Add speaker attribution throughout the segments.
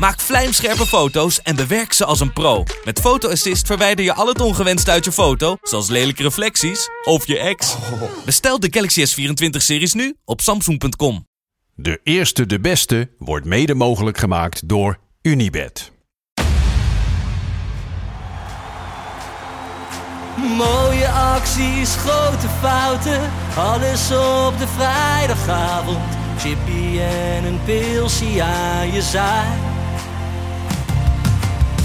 Speaker 1: Maak vlijmscherpe foto's en bewerk ze als een pro. Met Photo Assist verwijder je al het ongewenst uit je foto, zoals lelijke reflecties of je ex. Bestel de Galaxy S24-series nu op Samsung.com.
Speaker 2: De eerste de beste wordt mede mogelijk gemaakt door Unibed.
Speaker 3: Mooie acties, grote fouten, alles op de vrijdagavond. Chippy en een pilsie aan je zaai.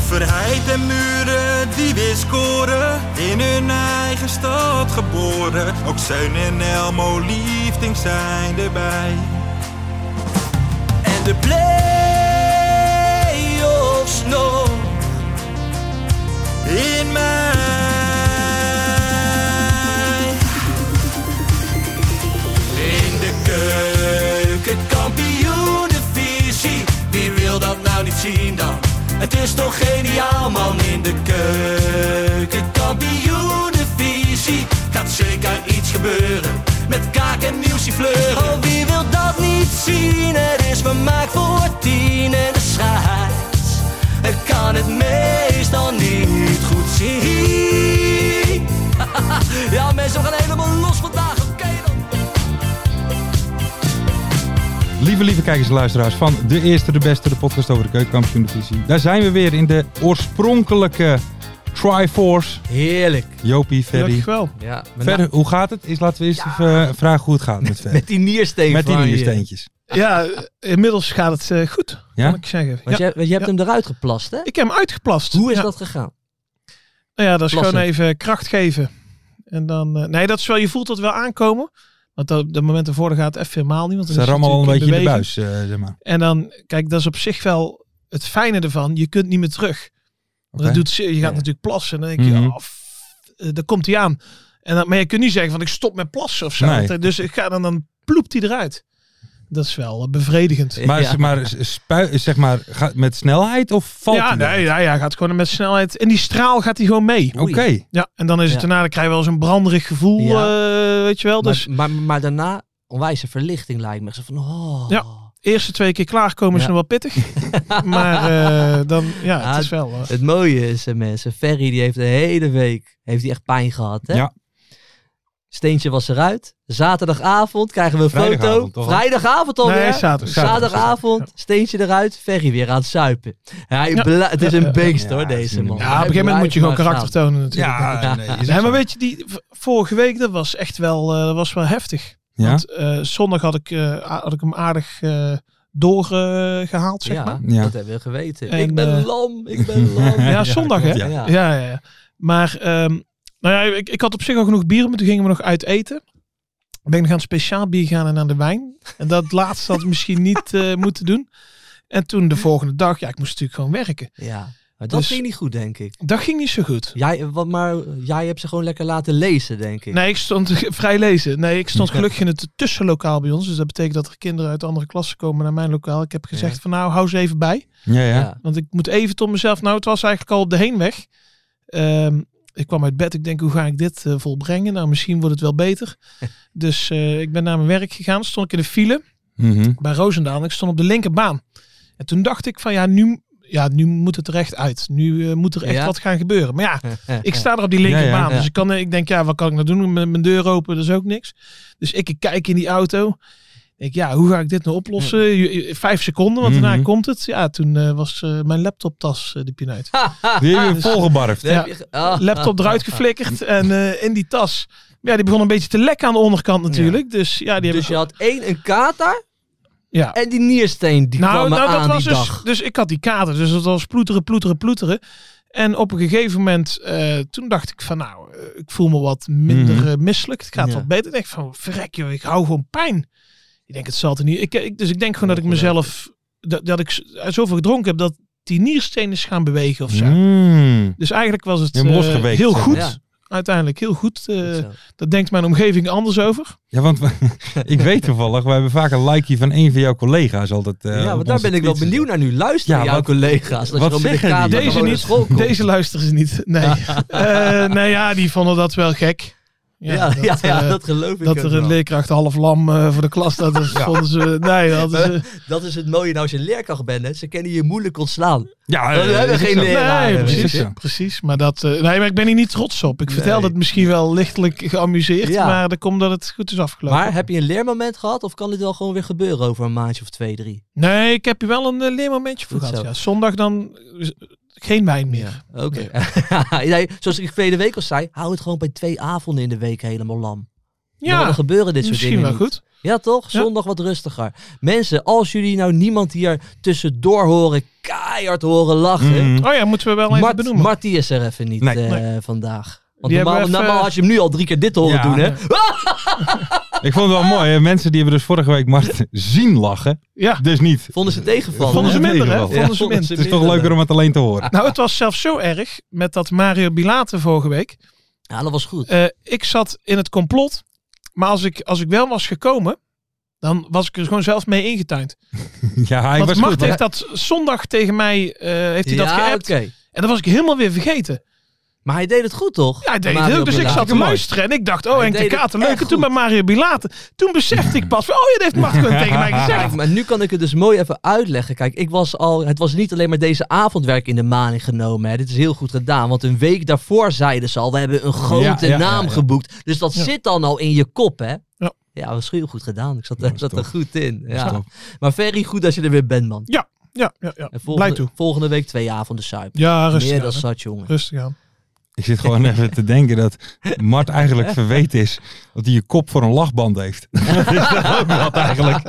Speaker 4: Verheid en muren die weer scoren, in hun eigen stad geboren. Ook Zeun en Elmo liefding zijn erbij.
Speaker 3: En de play-offs nog.
Speaker 4: In mij.
Speaker 3: In de keuken, kampioenenvisie. Wie wil dat nou niet zien dan? Het is toch geniaal man in de keuken, kampioenenvisie. Gaat zeker iets gebeuren met kaak en nieuwsie fleuren. Oh, wie wil dat niet zien? Het is vermaakt voor tien en de scheids. Ik kan het meestal niet goed zien. ja mensen, we gaan helemaal los vandaag, oké dan.
Speaker 5: Lieve, lieve kijkers en luisteraars van De Eerste, De Beste, de podcast over de keukenkampioen divisie. Daar zijn we weer in de oorspronkelijke Triforce.
Speaker 6: Heerlijk.
Speaker 5: Jopie, Ferry.
Speaker 6: Gelukkig wel. Ja, maar
Speaker 5: Verder,
Speaker 6: nou,
Speaker 5: hoe gaat het? Is, laten we eerst even eh, vragen hoe het gaat met Ferry.
Speaker 6: met die niersteentjes.
Speaker 5: Met die nieuwe
Speaker 6: eh,
Speaker 5: steentjes.
Speaker 7: Ja, inmiddels gaat het eh, goed,
Speaker 5: Ja?
Speaker 7: kan ik zeggen.
Speaker 6: Want
Speaker 7: Ja,
Speaker 6: jij- want je, hebt hem eruit geplast, hè?
Speaker 7: Ik heb hem uitgeplast.
Speaker 6: Hoe is
Speaker 7: ja.
Speaker 6: dat gegaan?
Speaker 7: Nou ja, dat is
Speaker 6: plassen?
Speaker 7: gewoon even kracht geven. En dan, eh, nee, dat is wel, je voelt dat wel aankomen. Want dat, dat moment ervoor gaat het even helemaal niet. Want dan
Speaker 5: Ze
Speaker 7: is het
Speaker 5: rammen al een beetje in de
Speaker 7: natuurlijk
Speaker 5: buis, eh, zeg maar.
Speaker 7: beweging. En dan, kijk, dat is op zich wel het fijne ervan. Je kunt niet meer terug. Want
Speaker 5: Oké.
Speaker 7: Dat doet, ze- je gaat natuurlijk plassen. En dan denk je,
Speaker 5: Mhm.
Speaker 7: oh, f- eh, daar komt hij aan. En dan, maar je kunt niet zeggen van ik stop met plassen of zo.
Speaker 5: Nee.
Speaker 7: Want, eh, Dus ik ga dan, dan ploept hij eruit. Dat is wel eh, bevredigend.
Speaker 5: Maar,
Speaker 6: Ja.
Speaker 5: zeg maar, spui, zeg maar gaat met snelheid of valt
Speaker 7: ja,
Speaker 5: hij dan?
Speaker 7: nee, ja, ja, gaat gewoon met snelheid. En die straal gaat hij gewoon mee.
Speaker 5: Oké.
Speaker 7: Ja, en dan is het
Speaker 6: Ja.
Speaker 7: daarna, dan krijg je wel eens een branderig gevoel, eh, weet je wel. Dus
Speaker 6: maar, maar, maar daarna, onwijze verlichting lijkt me. Zo van, oh.
Speaker 7: Ja. eerste twee keer klaarkomen is
Speaker 6: Ja.
Speaker 7: nog wel pittig. maar eh, dan, ja, het
Speaker 6: Ah,
Speaker 7: is wel... eh,
Speaker 6: Het mooie is, eh, mensen, Ferry die heeft de hele week heeft die echt pijn gehad, hè?
Speaker 5: Ja.
Speaker 6: Steentje was eruit. Zaterdagavond krijgen we een foto.
Speaker 5: Vrijdagavond, toch?
Speaker 6: Vrijdagavond alweer.
Speaker 7: nee, zaterdag.
Speaker 6: Zaterdagavond, steentje eruit, Ferry weer aan het suipen. Hij
Speaker 7: Ja.
Speaker 6: bla- het is
Speaker 7: Ja,
Speaker 6: een
Speaker 7: ja.
Speaker 6: beest
Speaker 5: Ja,
Speaker 6: hoor,
Speaker 5: het is
Speaker 6: deze
Speaker 5: een-
Speaker 6: man.
Speaker 5: Ja,
Speaker 7: Ja, op een gegeven moment moet je gewoon
Speaker 6: Blijf maar
Speaker 7: karakter tonen natuurlijk.
Speaker 5: Ja, nee, is
Speaker 7: Nee,
Speaker 5: het
Speaker 7: maar
Speaker 5: zo.
Speaker 7: weet je, die, v- vorige week, dat was echt wel, eh, dat was wel heftig.
Speaker 5: Ja?
Speaker 7: Want eh, zondag had ik, eh, a- had ik hem aardig eh, doorgehaald,
Speaker 6: gaan.
Speaker 7: zeg maar.
Speaker 6: Ja,
Speaker 5: Ja.
Speaker 6: dat hebben we geweten.
Speaker 7: En,
Speaker 6: ik ben
Speaker 7: eh,
Speaker 6: lam, ik ben lam.
Speaker 7: Ja, zondag hè.
Speaker 6: Ja.
Speaker 5: Ja.
Speaker 7: Ja, ja, ja. Maar ehm, nou ja, ik, ik had op zich al genoeg bieren, maar toen gingen we nog uit eten. Dan ben ik nog aan het speciaal bier gaan en aan de wijn. En dat laatste had ik misschien niet eh, moeten doen. En toen de volgende dag, ja, ik moest natuurlijk gewoon werken.
Speaker 6: Ja, maar dat
Speaker 7: Dus-
Speaker 6: ging niet goed, denk ik.
Speaker 7: Dat ging niet zo goed.
Speaker 6: Jij, eh, wat, maar jij hebt ze gewoon lekker laten lezen, denk ik.
Speaker 7: Nee, ik stond vrij lezen. Nee, ik stond gelukkig in het tussenlokaal bij ons. Dus dat betekent dat er kinderen uit andere klassen komen naar mijn lokaal. Ik heb gezegd
Speaker 6: Ja.
Speaker 7: van nou, hou ze even bij.
Speaker 5: Ja, ja.
Speaker 6: Ja.
Speaker 7: Want ik moet even tot mezelf. Nou, het was eigenlijk al op de heenweg. Ehm, ik kwam uit bed. Ik denk, hoe ga ik dit eh, volbrengen? Nou, misschien wordt het wel beter. dus eh, ik ben naar mijn werk gegaan. Stond ik in de file
Speaker 5: Mhm.
Speaker 7: bij Roosendaal. En ik stond op de linkerbaan. En toen dacht ik van ja, nu, ja, nu moet het er echt uit. Nu eh, moet er echt
Speaker 6: Ja.
Speaker 7: wat gaan gebeuren. Maar ja, ik sta er op die
Speaker 5: Ja, ja,
Speaker 7: linkerbaan.
Speaker 5: ja.
Speaker 7: Dus ik, kan, ik denk, ja, wat kan ik nou doen? Mijn, mijn deur open, dat is ook niks. Dus ik kijk in die auto. Ik, ja, hoe ga ik dit nou oplossen? Je- je- Vijf seconden, want daarna
Speaker 5: Mhm.
Speaker 7: komt het. Ja, toen eh, was eh, mijn laptoptas eh, de pineut.
Speaker 5: Die heb je volgebarfd.
Speaker 6: Daar heb je ge- Ah.
Speaker 7: Laptop eruit geflikkerd en eh, in die tas. Ja, die begon een beetje te lekken aan de onderkant natuurlijk. Dus ja, die
Speaker 6: Dus je
Speaker 7: hebben
Speaker 6: had één een kater
Speaker 7: ja.
Speaker 6: en die niersteen
Speaker 7: Nou,
Speaker 6: die kwam er aan die
Speaker 7: dus,
Speaker 6: dag.
Speaker 7: dus ik had die kater, dus dat was ploeteren, ploeteren, ploeteren. En op een gegeven moment, eh, toen dacht ik van nou, eh, ik voel me wat minder
Speaker 5: Mhm.
Speaker 7: eh, misselijk. Het gaat
Speaker 6: Ja.
Speaker 7: wat beter. Ik denk van, verrek joh, ik hou gewoon pijn. Ik denk, het zal er niet. Ik, ik, dus ik denk gewoon dat ik mezelf, dat, dat ik z- zoveel gedronken heb, dat die niersteen is gaan bewegen of zo.
Speaker 5: Mm.
Speaker 6: Mhm.
Speaker 7: Dus eigenlijk was het
Speaker 5: Je hebt hem
Speaker 7: eh,
Speaker 5: losgeweekt,
Speaker 7: heel
Speaker 5: zeg
Speaker 7: goed.
Speaker 6: maar. Ja.
Speaker 7: uiteindelijk heel goed. Eh,
Speaker 6: Zo.
Speaker 7: daar denkt mijn omgeving anders over.
Speaker 5: Ja, want we- ik weet toevallig, we hebben vaak een likeje van een van jouw collega's altijd. eh,
Speaker 6: ja,
Speaker 5: op
Speaker 6: want daar
Speaker 5: onze
Speaker 6: ben ik wel
Speaker 5: fietsen.
Speaker 6: benieuwd naar nu. Luister
Speaker 5: Ja,
Speaker 6: naar jouw
Speaker 5: wat-
Speaker 6: collega's. Dat
Speaker 5: wat
Speaker 6: je dan met de
Speaker 5: zeggen die?
Speaker 6: kamer
Speaker 5: Ja,
Speaker 7: Deze
Speaker 6: gewoon
Speaker 7: niet.
Speaker 6: naar school komt.
Speaker 7: Deze luisteren ze niet. Nee. Eh, nou ja, die vonden dat wel gek.
Speaker 6: Ja, ja,
Speaker 7: dat,
Speaker 6: ja, dat,
Speaker 7: eh,
Speaker 6: geloof ik
Speaker 7: dat
Speaker 6: ook
Speaker 7: er
Speaker 6: wel.
Speaker 7: een leerkracht half lam eh, voor de klas staat, dat vonden ze... Nee, dat is... eh,
Speaker 6: Dat is het mooie nou als je leerkracht bent. Hè. Ze kunnen je moeilijk ontslaan.
Speaker 5: Ja,
Speaker 6: We
Speaker 5: eh,
Speaker 6: hebben
Speaker 5: is
Speaker 6: geen
Speaker 5: zo.
Speaker 6: leer-
Speaker 7: nee,
Speaker 6: leraren,
Speaker 5: weet
Speaker 7: precies.
Speaker 5: je.
Speaker 7: precies maar, dat, eh, nee, maar ik ben hier niet trots op. Ik vertel
Speaker 6: Nee.
Speaker 7: dat misschien wel lichtelijk geamuseerd,
Speaker 6: Ja.
Speaker 7: maar dat komt dat het goed is afgelopen.
Speaker 6: Maar heb je een leermoment gehad? Of kan dit wel gewoon weer gebeuren over een maandje of twee, drie?
Speaker 7: Nee, ik heb hier wel een eh, leermomentje voor
Speaker 6: Goed
Speaker 7: gehad.
Speaker 6: zo.
Speaker 7: Ja. Zondag dan eh, geen wijn meer.
Speaker 6: Oké. Nee, Zoals ik verleden week al zei, hou het gewoon bij twee avonden in de week helemaal lam.
Speaker 7: Ja,
Speaker 6: Dan gebeuren dit soort
Speaker 7: misschien
Speaker 6: dingen
Speaker 7: wel
Speaker 6: niet.
Speaker 7: goed.
Speaker 6: Ja, toch?
Speaker 7: Ja.
Speaker 6: Zondag wat rustiger. Mensen, als jullie nou niemand hier tussendoor horen, keihard horen lachen.
Speaker 5: Mm.
Speaker 7: Oh ja, moeten we wel even
Speaker 6: Mart,
Speaker 7: benoemen.
Speaker 6: Marty is er even niet
Speaker 5: Nee.
Speaker 6: eh,
Speaker 7: Nee.
Speaker 6: vandaag. Want
Speaker 7: Die
Speaker 6: normaal,
Speaker 7: hebben we even-
Speaker 6: normaal had je hem nu al drie keer dit horen
Speaker 5: Ja.
Speaker 6: doen, hè?
Speaker 5: Ik vond het wel mooi. Hè? Mensen die hebben dus vorige week Mart zien lachen.
Speaker 7: ja.
Speaker 5: Dus niet.
Speaker 6: Vonden ze tegenvallen.
Speaker 7: Vonden ze
Speaker 6: hè?
Speaker 5: in
Speaker 7: minder, hè?
Speaker 5: ieder geval.
Speaker 7: Vonden ze
Speaker 6: vonden
Speaker 7: minder.
Speaker 6: ze
Speaker 5: Het is toch
Speaker 6: minder.
Speaker 5: leuker om het alleen te horen.
Speaker 7: Nou, het was zelfs zo erg met dat Mario Bilate vorige week.
Speaker 6: Ja, dat was goed.
Speaker 7: Eh, ik zat in het complot, maar als ik, als ik wel was gekomen, dan was ik er gewoon zelf mee ingetuind.
Speaker 5: Ja, hij
Speaker 7: Want
Speaker 5: was
Speaker 7: Mart
Speaker 5: goed. hè?
Speaker 7: heeft dat zondag tegen mij eh, heeft hij
Speaker 6: ja,
Speaker 7: dat geappt.
Speaker 6: oké.
Speaker 7: En dat was ik helemaal weer vergeten.
Speaker 6: Maar hij deed het goed, toch?
Speaker 7: Ja, hij deed het
Speaker 6: Mario
Speaker 7: heel, dus ik
Speaker 6: Belaat.
Speaker 7: zat te luisteren en ik dacht, oh,
Speaker 6: Hij
Speaker 7: Henk de
Speaker 6: deed het
Speaker 7: Kater,
Speaker 6: echt
Speaker 7: leuk. En toen bij
Speaker 6: goed.
Speaker 7: Mario Bilate, toen besefte ik pas, van, oh, je heeft Mart gewoon tegen mij gezegd.
Speaker 6: Kijk, maar nu kan ik het dus mooi even uitleggen. Kijk, ik was al, het was niet alleen maar deze avondwerk in de maning genomen. Hè. Dit is heel goed gedaan. Want een week daarvoor zeiden ze al, we hebben een grote
Speaker 5: Ja, ja, ja,
Speaker 6: naam
Speaker 5: ja.
Speaker 6: geboekt. Dus dat
Speaker 7: Ja.
Speaker 6: zit dan al in je kop, hè?
Speaker 7: Ja.
Speaker 6: Ja, dat was heel goed gedaan. Ik zat, er- zat er
Speaker 5: top.
Speaker 6: goed in. Ja.
Speaker 5: top.
Speaker 6: Maar Ferry, goed dat je er weer bent, man.
Speaker 7: Ja, ja, ja.
Speaker 6: En
Speaker 7: Blij
Speaker 6: volgende,
Speaker 7: toe.
Speaker 6: volgende week twee avonden suipen.
Speaker 7: Ja,
Speaker 6: Meer
Speaker 7: rustig
Speaker 6: dan
Speaker 7: aan. hè.
Speaker 6: zat, jongen.
Speaker 7: Rustig aan.
Speaker 5: Ik zit gewoon even te denken dat Mart eigenlijk verweten is dat hij je kop voor een lachband heeft. dat is toch ook wat eigenlijk.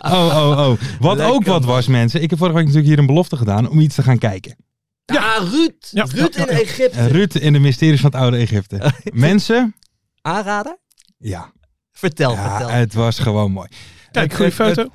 Speaker 5: Oh, oh, oh. Wat
Speaker 6: Lekker,
Speaker 5: ook wat was, mensen. Ik heb vorige week natuurlijk hier een belofte gedaan om iets te gaan kijken. Eh,
Speaker 6: Ja, Ruud.
Speaker 7: Ja,
Speaker 6: Ruud
Speaker 7: ja, ja,
Speaker 6: in
Speaker 7: ja.
Speaker 6: Egypte.
Speaker 5: Ruud in de mysteries van het oude Egypte. Mensen,
Speaker 6: Aanrader?
Speaker 5: ja,
Speaker 6: Vertel,
Speaker 5: ja
Speaker 6: vertel.
Speaker 5: het was gewoon mooi.
Speaker 7: Kijk,
Speaker 5: Het-
Speaker 7: goede
Speaker 5: het-
Speaker 7: foto.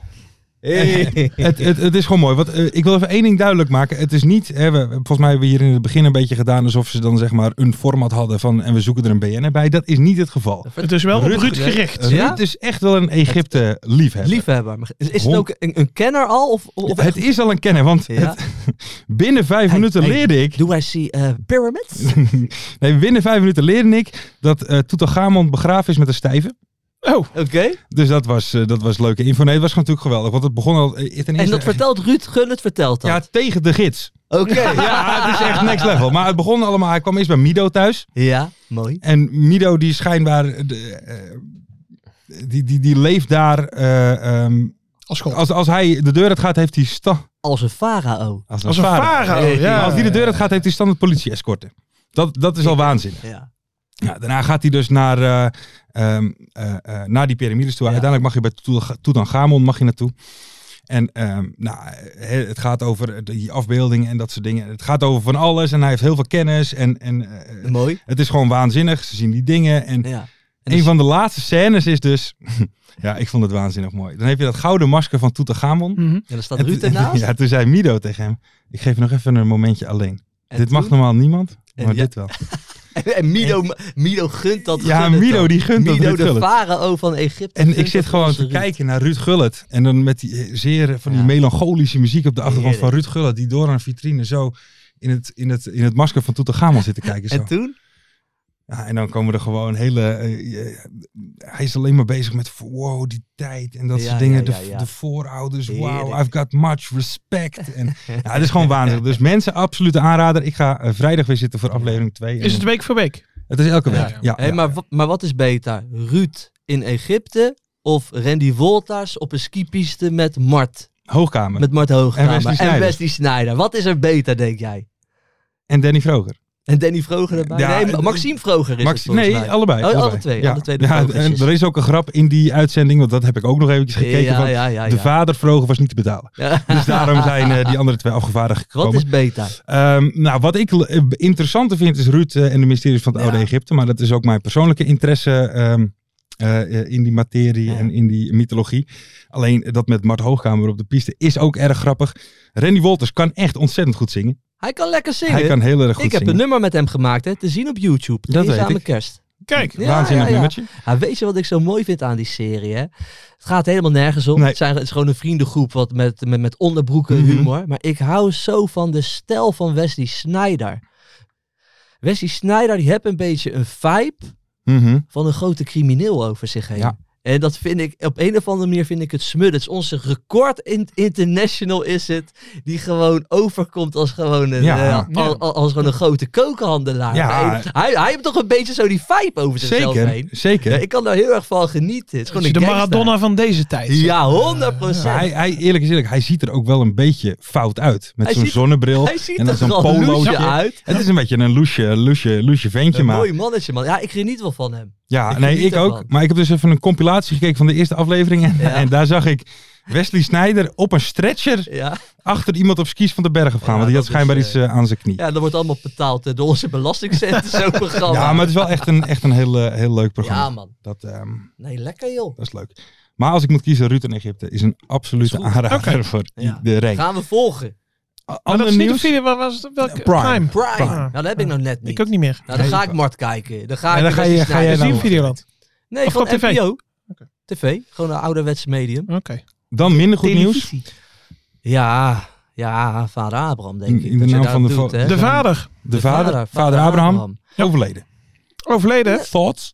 Speaker 6: Hey.
Speaker 5: het, het, het is gewoon mooi. Want, eh, ik wil even één ding duidelijk maken. Het is niet, hè, we, volgens mij hebben we hier in het begin een beetje gedaan alsof ze dan zeg maar een format hadden van en we zoeken er een BN'er bij. Dat is niet het geval.
Speaker 7: Het is wel op
Speaker 5: Ruud-
Speaker 7: Ruud gericht.
Speaker 5: Ruud
Speaker 6: Ja?
Speaker 5: is echt wel een Egypte liefhebber.
Speaker 6: Liefhebber. Maar Is het
Speaker 5: Hond-
Speaker 6: ook een, een kenner al? Of, of
Speaker 5: het is al een kenner, want
Speaker 6: Ja.
Speaker 5: het- binnen vijf
Speaker 6: Hey,
Speaker 5: minuten
Speaker 6: hey,
Speaker 5: leerde ik.
Speaker 6: Do I see eh pyramids?
Speaker 5: Nee, binnen vijf minuten leerde ik dat eh Toetanchamon begraven is met een stijve.
Speaker 7: Oh,
Speaker 6: Oké.
Speaker 5: Dus dat was, eh, dat was leuke info. Nee, het was gewoon natuurlijk geweldig. Want het begon al. eh, ten
Speaker 6: En
Speaker 5: eerste-
Speaker 6: dat vertelt Ruud Gun, het vertelt dat.
Speaker 5: Ja, tegen de gids.
Speaker 6: Oké.
Speaker 5: Ja, Ah, het is echt next level. Maar het begon allemaal. Hij kwam eerst bij Mido thuis.
Speaker 6: Ja, mooi.
Speaker 5: En Mido die schijnbaar... De, eh, die, die, die leeft daar... eh, ehm,
Speaker 7: als
Speaker 6: Oh.
Speaker 7: god.
Speaker 5: als, als hij de deur uit gaat, heeft hij... Sta-
Speaker 6: Als een farao.
Speaker 7: Als een farao.
Speaker 6: Nee,
Speaker 7: ja.
Speaker 5: Als die de deur uit gaat, heeft hij standaard politie-escorten. Dat, dat is al waanzinnig.
Speaker 6: Ja.
Speaker 5: Ja, daarna gaat hij dus naar, eh, ehm, eh, eh, naar die piramides toe.
Speaker 6: Ja.
Speaker 5: Uiteindelijk mag je bij Toetan- Toetanchamon mag je naartoe. En ehm, nou, hè, het gaat over die afbeeldingen en dat soort dingen. Het gaat over van alles en hij heeft heel veel kennis. En, en eh,
Speaker 6: Mooi.
Speaker 5: het is gewoon waanzinnig. Ze zien die dingen en
Speaker 6: Ja. En
Speaker 5: een
Speaker 6: dus-
Speaker 5: van de laatste scènes is dus... ja, ik vond het waanzinnig mooi. Dan heb je dat gouden masker van Toetanchamon.
Speaker 7: Mhm.
Speaker 6: En dan staat
Speaker 5: En
Speaker 6: Ruud
Speaker 5: toen-
Speaker 6: ernaast.
Speaker 5: Ja, toen zei Mido tegen hem... Ik geef je nog even een momentje alleen.
Speaker 6: En
Speaker 5: dit mag
Speaker 6: toen-
Speaker 5: normaal niemand,
Speaker 6: En
Speaker 5: maar
Speaker 6: ja-
Speaker 5: dit wel.
Speaker 6: En Mido, Mido gunt dat.
Speaker 5: ja,
Speaker 6: Gun het
Speaker 5: Mido
Speaker 6: dan.
Speaker 5: die gunt dat
Speaker 6: Mido
Speaker 5: Ruud
Speaker 6: de
Speaker 5: Gullit.
Speaker 6: farao van Egypte.
Speaker 5: En
Speaker 6: gunt
Speaker 5: ik zit
Speaker 6: dat
Speaker 5: gewoon
Speaker 6: onze
Speaker 5: te
Speaker 6: Ruud.
Speaker 5: kijken naar Ruud Gullit. En dan met die eh, zeer van die
Speaker 6: Ja.
Speaker 5: melancholische muziek op de achtergrond van
Speaker 6: Heerlijk.
Speaker 5: Ruud Gullit. Die door een vitrine zo in het, in het, in het masker van Toetanchamon zit te kijken. Zo.
Speaker 6: En toen?
Speaker 5: Ja, en dan komen er gewoon hele. eh, eh, hij is alleen maar bezig met. Wow, die tijd en dat
Speaker 6: Ja,
Speaker 5: soort dingen.
Speaker 6: ja, ja,
Speaker 5: de,
Speaker 6: ja.
Speaker 5: de voorouders. Wow,
Speaker 6: Heerlijk.
Speaker 5: I've got much respect. En, ja, het is gewoon waanzinnig. Dus mensen, absolute aanrader. Ik ga eh, vrijdag weer zitten voor aflevering 2.
Speaker 7: Is het week voor week?
Speaker 5: het is elke week.
Speaker 7: Ja,
Speaker 5: Ja,
Speaker 7: ja.
Speaker 6: Hey,
Speaker 5: ja.
Speaker 6: maar, wa- maar wat is beter? Ruud in Egypte of Randy Wolters op een skipiste met Mart?
Speaker 5: Hoogkamer.
Speaker 6: Met Mart Hoogkamer.
Speaker 5: En Wesley Sneijder.
Speaker 6: Wesley Sneijder. Wat is er beter, denk jij?
Speaker 5: En Danny Vroger.
Speaker 6: En Danny Vroger erbij?
Speaker 5: Ja,
Speaker 6: nee, Ma- Maxime Vroger is
Speaker 5: Max,
Speaker 6: het volgens
Speaker 5: nee,
Speaker 6: mij.
Speaker 5: allebei.
Speaker 6: Oh, alle
Speaker 5: allebei.
Speaker 6: twee,
Speaker 5: Ja.
Speaker 6: alle twee de
Speaker 5: Ja,
Speaker 6: Vrogertjes.
Speaker 5: en er is ook een grap in die uitzending. Want dat heb ik ook nog eventjes gekeken.
Speaker 6: ja,
Speaker 5: van,
Speaker 6: ja, ja,
Speaker 5: De
Speaker 6: ja.
Speaker 5: vader Vroger was niet te betalen.
Speaker 6: Ja.
Speaker 5: Dus daarom zijn eh, die andere twee afgevaardigd gekomen.
Speaker 6: Wat is beter?
Speaker 5: Ehm, nou, wat ik l- eh, interessanter vind is Ruud eh, en de mysteries van het Oude Egypte. Maar dat is ook mijn persoonlijke interesse ehm, eh, eh, in die materie
Speaker 6: Ja.
Speaker 5: en in die mythologie. Alleen eh, dat met Mart Hoogkamer op de piste is ook erg grappig. Randy Wolters kan echt ontzettend goed zingen.
Speaker 6: Hij kan lekker zingen.
Speaker 5: Hij kan heel erg goed
Speaker 6: ik heb
Speaker 5: zingen.
Speaker 6: een nummer met hem gemaakt, hè, te zien op YouTube.
Speaker 5: Dat weet
Speaker 6: Eenzame
Speaker 5: ik.
Speaker 6: kerst.
Speaker 7: Kijk,
Speaker 6: Ja,
Speaker 5: Waanzinnig
Speaker 6: ja, ja.
Speaker 5: nummertje.
Speaker 6: Ja, weet je wat ik zo mooi vind aan die serie? Hè? Het gaat helemaal nergens om.
Speaker 5: Nee.
Speaker 6: Het, zijn, het is gewoon een vriendengroep wat met, met, met onderbroeken
Speaker 5: Mhm.
Speaker 6: humor. Maar ik hou zo van de stijl van Wesley Snyder. Wesley Snyder die heeft een beetje een vibe
Speaker 5: Mhm.
Speaker 6: van een grote crimineel over zich heen.
Speaker 5: Ja.
Speaker 6: En dat vind ik, op een of andere manier vind ik het smut. Het is onze record in- international is het, die gewoon overkomt als gewoon een,
Speaker 5: Ja.
Speaker 6: eh, al-
Speaker 7: Ja.
Speaker 6: al- als, gewoon een grote kokenhandelaar.
Speaker 5: Ja.
Speaker 6: Hij, hij, hij heeft toch een beetje zo die vibe over zichzelf
Speaker 5: Zeker,
Speaker 6: heen.
Speaker 5: zeker.
Speaker 6: Ja, ik kan daar heel erg van genieten. Het is
Speaker 7: dat
Speaker 6: gewoon
Speaker 7: is
Speaker 6: een
Speaker 7: de
Speaker 6: gangster.
Speaker 7: Maradona van deze tijd.
Speaker 6: Ja, 100
Speaker 5: Maar
Speaker 6: procent.
Speaker 5: Nou, hij, hij, eerlijk is eerlijk, hij ziet er ook wel een beetje fout uit. Met
Speaker 6: Hij
Speaker 5: zo'n
Speaker 6: ziet-
Speaker 5: zonnebril
Speaker 6: Hij ziet
Speaker 5: en dan
Speaker 6: er
Speaker 5: zo'n
Speaker 6: gewoon loesje
Speaker 5: polootje.
Speaker 6: uit.
Speaker 5: Het is een beetje een loesje, loesje, loesje ventje,
Speaker 6: Een
Speaker 5: maar...
Speaker 6: mooi mannetje, man. Ja, ik geniet wel van hem.
Speaker 5: Ja,
Speaker 6: Ik
Speaker 5: nee,
Speaker 6: geniet
Speaker 5: ik ook.
Speaker 6: ervan.
Speaker 5: Maar ik heb dus even een compilatie gekeken van de eerste aflevering. En,
Speaker 6: Ja.
Speaker 5: en daar zag ik Wesley Snyder op een stretcher
Speaker 6: Ja,
Speaker 5: achter iemand op skis van de berg op gaan.
Speaker 6: Ja,
Speaker 5: want die
Speaker 6: dat
Speaker 5: had
Speaker 6: is,
Speaker 5: schijnbaar
Speaker 6: eh,
Speaker 5: iets eh, aan zijn knie. Ja,
Speaker 6: ja dat wordt allemaal betaald eh, door onze belastingcenten, zo'n programma.
Speaker 5: maar het is wel echt een, echt een heel, eh, heel leuk programma.
Speaker 6: Ja, man.
Speaker 5: Dat, ehm,
Speaker 6: Nee, lekker joh.
Speaker 5: dat is leuk. Maar als ik moet kiezen, Ruud in Egypte is een absolute aanrader voor
Speaker 6: Ja.
Speaker 5: iedereen.
Speaker 6: Gaan we volgen.
Speaker 7: Maar dat
Speaker 5: Ander
Speaker 7: is niet op
Speaker 5: nieuws?
Speaker 7: video, waar was het? Welke?
Speaker 5: Prime.
Speaker 6: Prime.
Speaker 7: Prime.
Speaker 6: Nou, dat heb ik nou net
Speaker 7: Ik
Speaker 6: niet.
Speaker 7: ook niet meer.
Speaker 6: Nou, dan ga ik Mart kijken. Dan ga
Speaker 5: En
Speaker 6: ik
Speaker 5: dan ga je-
Speaker 6: Wesley
Speaker 5: ga jij
Speaker 6: Snyder
Speaker 7: Zie
Speaker 5: nou-
Speaker 7: je
Speaker 6: zien.
Speaker 7: op Videoland?
Speaker 6: Nee,
Speaker 7: Of
Speaker 6: gewoon
Speaker 7: op TV?
Speaker 6: NPO.
Speaker 7: Oké.
Speaker 6: TV. Gewoon een ouderwetse medium.
Speaker 7: Oké.
Speaker 5: Dan minder goed nieuws.
Speaker 6: Televisie. Ja, ja, vader Abraham denk ik.
Speaker 5: In de
Speaker 6: dat je
Speaker 5: naam
Speaker 6: daar
Speaker 5: van de
Speaker 6: doet,
Speaker 5: vo-
Speaker 6: hè.
Speaker 7: De vader.
Speaker 5: De vader, vader Abraham, overleden.
Speaker 7: Overleden. hè?
Speaker 5: Thoughts?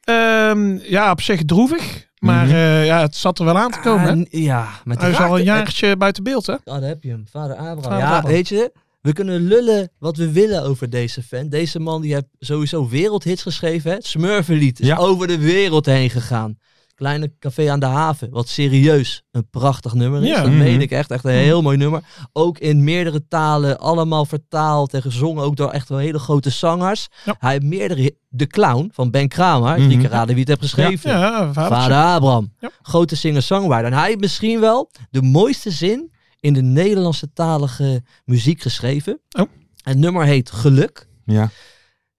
Speaker 7: Ehm, ja, op zich droevig. Maar
Speaker 5: Mhm.
Speaker 7: eh, ja, het zat er wel aan te komen. hè?
Speaker 6: Ah, ja, met
Speaker 7: Hij is al een jaartje buiten beeld, hè?
Speaker 6: Ah, daar heb je hem. Vader Abraham.
Speaker 7: Vader
Speaker 6: ja,
Speaker 7: Abraham.
Speaker 6: weet je, we kunnen lullen wat we willen over deze fan. Deze man die heeft sowieso wereldhits geschreven. Hè? Het Smurfenlied is
Speaker 5: Ja.
Speaker 6: over de wereld heen gegaan. Kleine café aan de haven, wat serieus een prachtig nummer is.
Speaker 7: Ja.
Speaker 6: dat
Speaker 5: Mhm.
Speaker 6: meen ik echt, echt een heel mooi nummer. Ook in meerdere talen, allemaal vertaald en gezongen, ook door echt wel hele grote zangers.
Speaker 7: Ja.
Speaker 6: Hij heeft meerdere, hi- De Clown van Ben Kramer, drie
Speaker 5: Mhm.
Speaker 6: keer raden wie het heeft geschreven.
Speaker 7: Ja, vader.
Speaker 6: Vader Abraham.
Speaker 7: Ja.
Speaker 6: Grote singer-songwriter. En hij heeft misschien wel de mooiste zin in de Nederlandse talige muziek geschreven.
Speaker 7: Oh.
Speaker 6: Het nummer heet Geluk.
Speaker 5: Ja.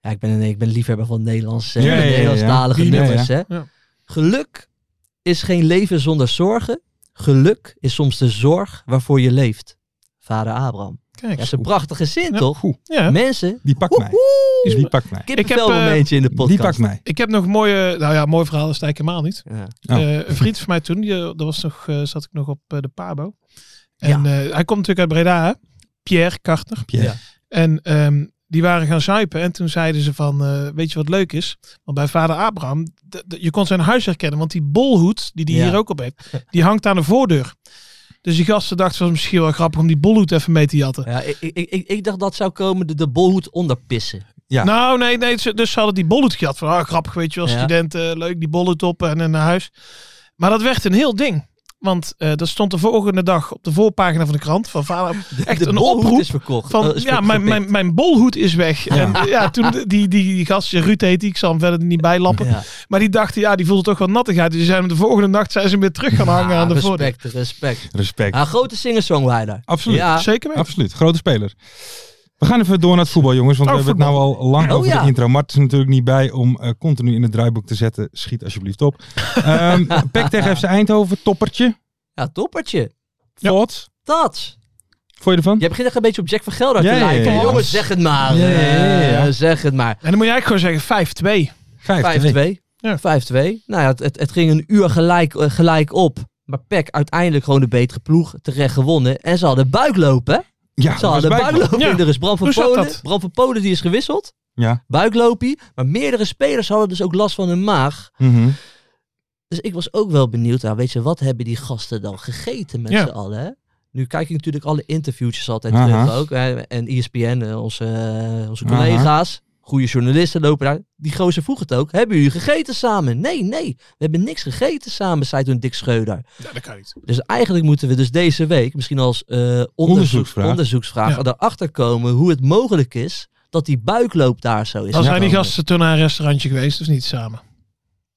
Speaker 6: Ja, ik ben, een- ik ben liefhebber van Nederlandse,
Speaker 5: Ja, ja, ja, ja.
Speaker 6: Nederlandstalige
Speaker 5: Ja, ja.
Speaker 6: nummers. Hè?
Speaker 7: Ja.
Speaker 6: Geluk is geen leven zonder zorgen. Geluk is soms de zorg waarvoor je leeft. Vader Abraham.
Speaker 7: Kijk.
Speaker 6: Dat is een prachtige zin,
Speaker 7: Ja.
Speaker 6: toch?
Speaker 7: Ja.
Speaker 6: Mensen,
Speaker 5: Die pakt mij.
Speaker 6: woehoe!
Speaker 5: Die pakt mij.
Speaker 6: Kippenvel
Speaker 7: Ik heb, eh,
Speaker 6: momentje in de
Speaker 5: Die pakt
Speaker 6: podcast.
Speaker 5: mij.
Speaker 7: Ik heb nog mooie, nou ja, mooi verhaal is het eigenlijk helemaal niet.
Speaker 6: Ja.
Speaker 5: Oh.
Speaker 7: Eh, een vriend van mij toen, die, eh, dat was nog, eh, zat ik nog op eh, de Pabo. En eh, hij komt natuurlijk uit Breda, hè? Pierre Kartner.
Speaker 5: Pierre.
Speaker 6: Ja.
Speaker 7: En ehm, die waren gaan zuipen en toen zeiden ze van, eh, weet je wat leuk is? Want bij vader Abraham, d- d- je kon zijn huis herkennen, want die bolhoed, die die
Speaker 6: Ja.
Speaker 7: hier ook op heeft, die hangt aan de voordeur. Dus die gasten dachten, het was misschien wel grappig om die bolhoed even mee te jatten.
Speaker 6: Ja, ik, ik, ik, ik dacht dat zou komen de, de bolhoed onderpissen.
Speaker 5: Ja.
Speaker 7: Nou, nee, nee, ze- dus ze hadden die bollet gehad. Van, ah, grappig, weet je wel,
Speaker 6: Ja.
Speaker 7: studenten, eh, leuk, die bollet op en en naar huis. Maar dat werd een heel ding. Want eh, dat stond de volgende dag op de voorpagina van de krant. Van vader, echt
Speaker 6: de
Speaker 7: een
Speaker 6: bolhoed
Speaker 7: oproep.
Speaker 6: is verkocht.
Speaker 7: Van,
Speaker 6: Eh, is
Speaker 7: ja,
Speaker 6: ver-
Speaker 7: mijn,
Speaker 6: gepikt.
Speaker 7: mijn, mijn bolhoed is weg. En eh, ja, toen die, die, die gast, Ruud heet die, ik zal hem verder niet bijlappen.
Speaker 6: Ja.
Speaker 7: Maar die dachten, ja, die voelde toch wel nattig uit. Dus die zijn hem de volgende nacht zijn ze hem weer terug gaan hangen
Speaker 6: Ah,
Speaker 7: aan de voordeur.
Speaker 6: respect, respect.
Speaker 5: Respect.
Speaker 6: Een grote singer-songwriter.
Speaker 5: Absoluut.
Speaker 6: Ja.
Speaker 7: Zeker weten.
Speaker 5: Absoluut, grote speler. We gaan even door naar het voetbal, jongens. Want
Speaker 7: Oh,
Speaker 5: we hebben het nou al lang
Speaker 6: Oh,
Speaker 5: over
Speaker 6: ja.
Speaker 5: de intro. Mart is er natuurlijk niet bij om eh, continu in het draaiboek te zetten. Schiet alsjeblieft op. Ehm Pek tegen FC Eindhoven, toppertje.
Speaker 6: Ja, toppertje.
Speaker 5: Thoughts?
Speaker 6: Dat.
Speaker 5: Vond je ervan?
Speaker 6: Je begint echt een beetje op Jack van Gelder
Speaker 5: Ja,
Speaker 6: te
Speaker 5: ja, ja,
Speaker 6: lijken.
Speaker 5: ja.
Speaker 6: Jongens, zeg het maar.
Speaker 5: Ja, ja, ja, ja.
Speaker 6: Eh, zeg het maar.
Speaker 7: En dan moet je eigenlijk gewoon zeggen 5-2.
Speaker 5: 5-2.
Speaker 6: 5-2.
Speaker 7: Ja.
Speaker 6: 5-2. Nou ja, het, het, het ging een uur gelijk, eh, gelijk op. Maar Peck uiteindelijk gewoon de betere ploeg terecht gewonnen. En ze hadden buiklopen. hè?
Speaker 5: Ja,
Speaker 6: Ze
Speaker 5: dat was
Speaker 6: hadden
Speaker 5: bijna.
Speaker 6: buiklopen.
Speaker 7: Ja.
Speaker 6: Er is Bram van
Speaker 7: Hoe zat
Speaker 6: Polen.
Speaker 7: dat?
Speaker 6: Bram van Polen die is gewisseld.
Speaker 5: Ja.
Speaker 6: Buikloopie. Maar meerdere spelers hadden dus ook last van hun maag.
Speaker 5: Mhm.
Speaker 6: Dus ik was ook wel benieuwd, nou, weet je, wat hebben die gasten dan gegeten met
Speaker 7: Ja.
Speaker 6: z'n allen? hè? Nu kijk ik natuurlijk alle interviewtjes altijd
Speaker 5: Aha.
Speaker 6: terug ook. hè, En ESPN, eh, onze, eh, onze
Speaker 5: Aha.
Speaker 6: collega's, goede journalisten lopen daar. Die gozer vroeg het ook, hebben jullie gegeten samen? Nee, nee, we hebben niks gegeten samen, zei toen Dick Scheuder.
Speaker 7: Ja, dat kan niet.
Speaker 6: Dus eigenlijk moeten we dus deze week misschien als eh, onderzoeksvraag,
Speaker 5: Onderzoeksvraag.
Speaker 6: onderzoeksvraag
Speaker 7: Ja.
Speaker 6: erachter komen hoe het mogelijk is dat die buikloop daar zo is.
Speaker 7: Dan zijn die
Speaker 6: gekomen.
Speaker 7: gasten toen naar een restaurantje geweest, dus niet samen.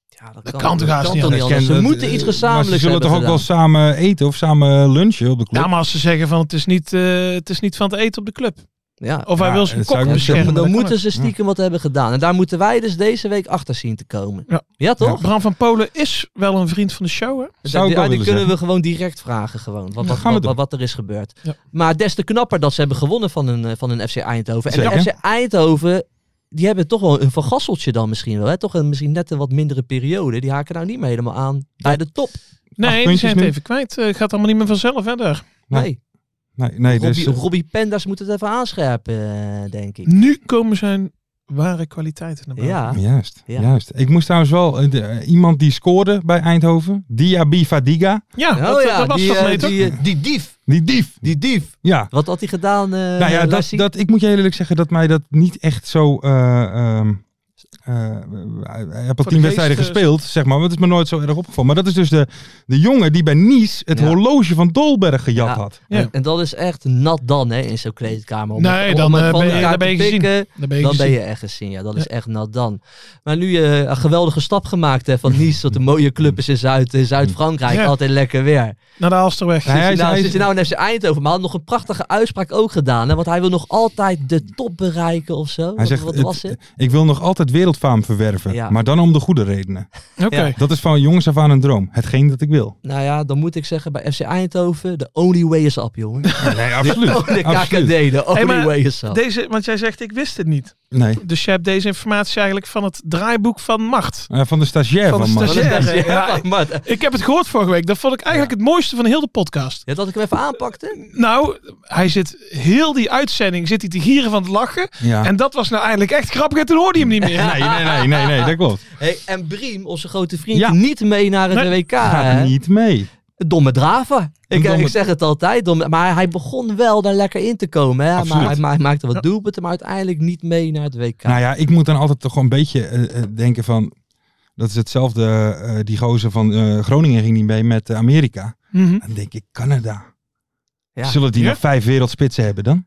Speaker 6: Ja, dat,
Speaker 7: kan toch haast niet anders?
Speaker 6: anders. Ze
Speaker 5: Kent-
Speaker 6: moeten iets
Speaker 5: eh,
Speaker 6: gezamenlijks
Speaker 5: Maar ze zullen
Speaker 6: hebben
Speaker 5: toch ook wel
Speaker 6: gedaan.
Speaker 5: samen eten of samen lunchen op de club?
Speaker 7: Ja, maar als ze zeggen van het is niet, eh, het is niet van het eten op de club.
Speaker 6: Ja.
Speaker 7: Of hij
Speaker 5: Ja,
Speaker 7: wil zijn
Speaker 5: dat
Speaker 7: kop
Speaker 5: zou ik misschien-
Speaker 7: beschermen.
Speaker 5: maar
Speaker 6: Dan
Speaker 7: dat kan
Speaker 6: moeten ze stiekem wat hebben gedaan. En daar moeten wij dus deze week achter zien te komen.
Speaker 7: Ja. ook.
Speaker 6: toch?
Speaker 7: Bram van Polen is wel een vriend van de show, hè?
Speaker 5: Zou ik
Speaker 6: Ja,
Speaker 5: wel
Speaker 6: die
Speaker 5: willen
Speaker 6: kunnen
Speaker 5: zeggen.
Speaker 6: we gewoon direct vragen, gewoon, wat,
Speaker 5: Ja,
Speaker 6: wat,
Speaker 5: gaan we
Speaker 6: wat,
Speaker 5: doen.
Speaker 6: wat, wat er is gebeurd.
Speaker 7: Ja.
Speaker 6: Maar des te knapper dat ze hebben gewonnen van een, eh, van een FC Eindhoven. En de
Speaker 5: Zeker.
Speaker 6: FC Eindhoven, die hebben toch wel een vergasseltje dan misschien wel. Hè? Toch een misschien net een wat mindere periode. Die haken nou niet meer helemaal aan bij de top.
Speaker 7: Nee, die
Speaker 5: puntjes
Speaker 7: zijn het
Speaker 5: nu.
Speaker 7: even kwijt. Eh, gaat allemaal niet meer vanzelf, hè, daar.
Speaker 5: Nee,
Speaker 6: Nee,
Speaker 5: Nee, nee
Speaker 6: Robbie,
Speaker 5: dus, eh,
Speaker 6: Robbie Penders moet het even aanscherpen, eh, denk ik.
Speaker 7: Nu komen zijn ware kwaliteiten naar boven.
Speaker 6: Ja,
Speaker 5: Juist,
Speaker 6: Ja.
Speaker 5: juist. Ik moest trouwens wel eh, de- eh, iemand die scoorde bij Eindhoven, Diaby Fadiga,
Speaker 7: Ja,
Speaker 6: Oh
Speaker 7: dat, dat
Speaker 6: ja,
Speaker 7: was
Speaker 6: die,
Speaker 7: dat
Speaker 6: eh,
Speaker 7: mee, toch?
Speaker 6: die, eh, die dief.
Speaker 5: die dief.
Speaker 6: Die dief.
Speaker 5: Ja.
Speaker 6: Wat had hij gedaan, eh
Speaker 5: Nou ja, dat,
Speaker 6: Lassie?
Speaker 5: dat, ik moet je heel eerlijk zeggen dat mij dat niet echt zo. eh ehm, eh, hij heeft al
Speaker 7: de
Speaker 5: tien wedstrijden
Speaker 7: geest, eh,
Speaker 5: gespeeld, zeg maar. Want het is me nooit zo erg opgevallen. Maar dat is dus de, de jongen die bij Nice het
Speaker 6: Ja.
Speaker 5: horloge van Dolberg gejat
Speaker 6: Ja.
Speaker 5: had.
Speaker 7: Ja.
Speaker 6: En dat is echt nat dan, hè, in zo'n kleedkamer.
Speaker 7: Nee, dan, eh,
Speaker 6: van
Speaker 7: ben je-
Speaker 6: elkaar
Speaker 7: dan ben je
Speaker 6: te
Speaker 7: gezien.
Speaker 6: pikken.
Speaker 7: Dan ben je
Speaker 6: Dan ben
Speaker 7: gezien.
Speaker 6: je dus echt gezien, ja. Dat is echt nat dan. Maar nu eh, een geweldige stap gemaakt hè, van Nice, dat een mooie club is in Zuid- in Zuid-Frankrijk.
Speaker 7: Ja.
Speaker 6: Altijd lekker weer.
Speaker 7: Naar de Alsterweg.
Speaker 5: Hij-
Speaker 6: Zit je nou,
Speaker 5: hij-
Speaker 6: zit je nou in FC Eindhoven, maar hij had nog een prachtige uitspraak ook gedaan. Hè, want hij wil nog altijd de top bereiken of zo.
Speaker 5: Hij
Speaker 6: Wat,
Speaker 5: zegt:
Speaker 6: wat
Speaker 5: het-
Speaker 6: was het?
Speaker 5: Ik wil nog altijd wereldfaam verwerven,
Speaker 6: Ja.
Speaker 5: maar dan om de goede redenen.
Speaker 7: Oké.
Speaker 6: Ja.
Speaker 5: Dat is van jongens af aan een droom. Hetgeen dat ik wil.
Speaker 6: Nou ja, dan moet ik zeggen, bij FC Eindhoven, the only way is up, jongen.
Speaker 5: Nee, absoluut.
Speaker 6: Oh, de
Speaker 5: absoluut.
Speaker 6: KKD, the only
Speaker 7: Hey, maar
Speaker 6: way is up.
Speaker 7: Deze, want jij zegt, ik wist het niet.
Speaker 5: Nee.
Speaker 7: Dus je hebt deze informatie eigenlijk van het draaiboek van macht.
Speaker 5: Eh, van de stagiair
Speaker 7: Van
Speaker 5: van,
Speaker 7: de
Speaker 5: Max.
Speaker 7: stagiair.
Speaker 6: Ja,
Speaker 7: zeggen, ja.
Speaker 6: maar-
Speaker 7: Ik heb het gehoord vorige week. Dat vond ik eigenlijk het mooiste van heel de podcast.
Speaker 6: Ja, dat ik hem even aanpakte?
Speaker 7: Nou, hij zit heel die uitzending zit hij te gieren van het lachen.
Speaker 5: Ja.
Speaker 7: En dat was nou eigenlijk echt grappig. En toen hoorde je hem niet meer.
Speaker 5: Nee, nee, nee, nee, nee, dat klopt.
Speaker 6: Hey, en Briem, onze grote vriend,
Speaker 5: Ja.
Speaker 6: niet mee naar het
Speaker 7: Nee,
Speaker 6: WK. Ah, hè?
Speaker 5: Gaat niet mee.
Speaker 6: Domme draver. Ik, eh,
Speaker 5: domme-
Speaker 6: ik zeg het altijd, domme- maar hij begon wel daar lekker in te komen. Hè? Maar
Speaker 5: Absoluut.
Speaker 6: hij, ma- hij maakte wat doelpunten, maar uiteindelijk niet mee naar het WK.
Speaker 5: Nou ja, ik moet dan altijd toch wel een beetje eh, eh, denken van... Dat is hetzelfde, eh, die gozer van eh, Groningen ging niet mee met eh, Amerika.
Speaker 7: Mhm.
Speaker 5: Dan denk ik, Canada.
Speaker 6: Ja.
Speaker 5: Zullen die
Speaker 7: Ja.
Speaker 5: nog vijf wereldspitsen hebben dan?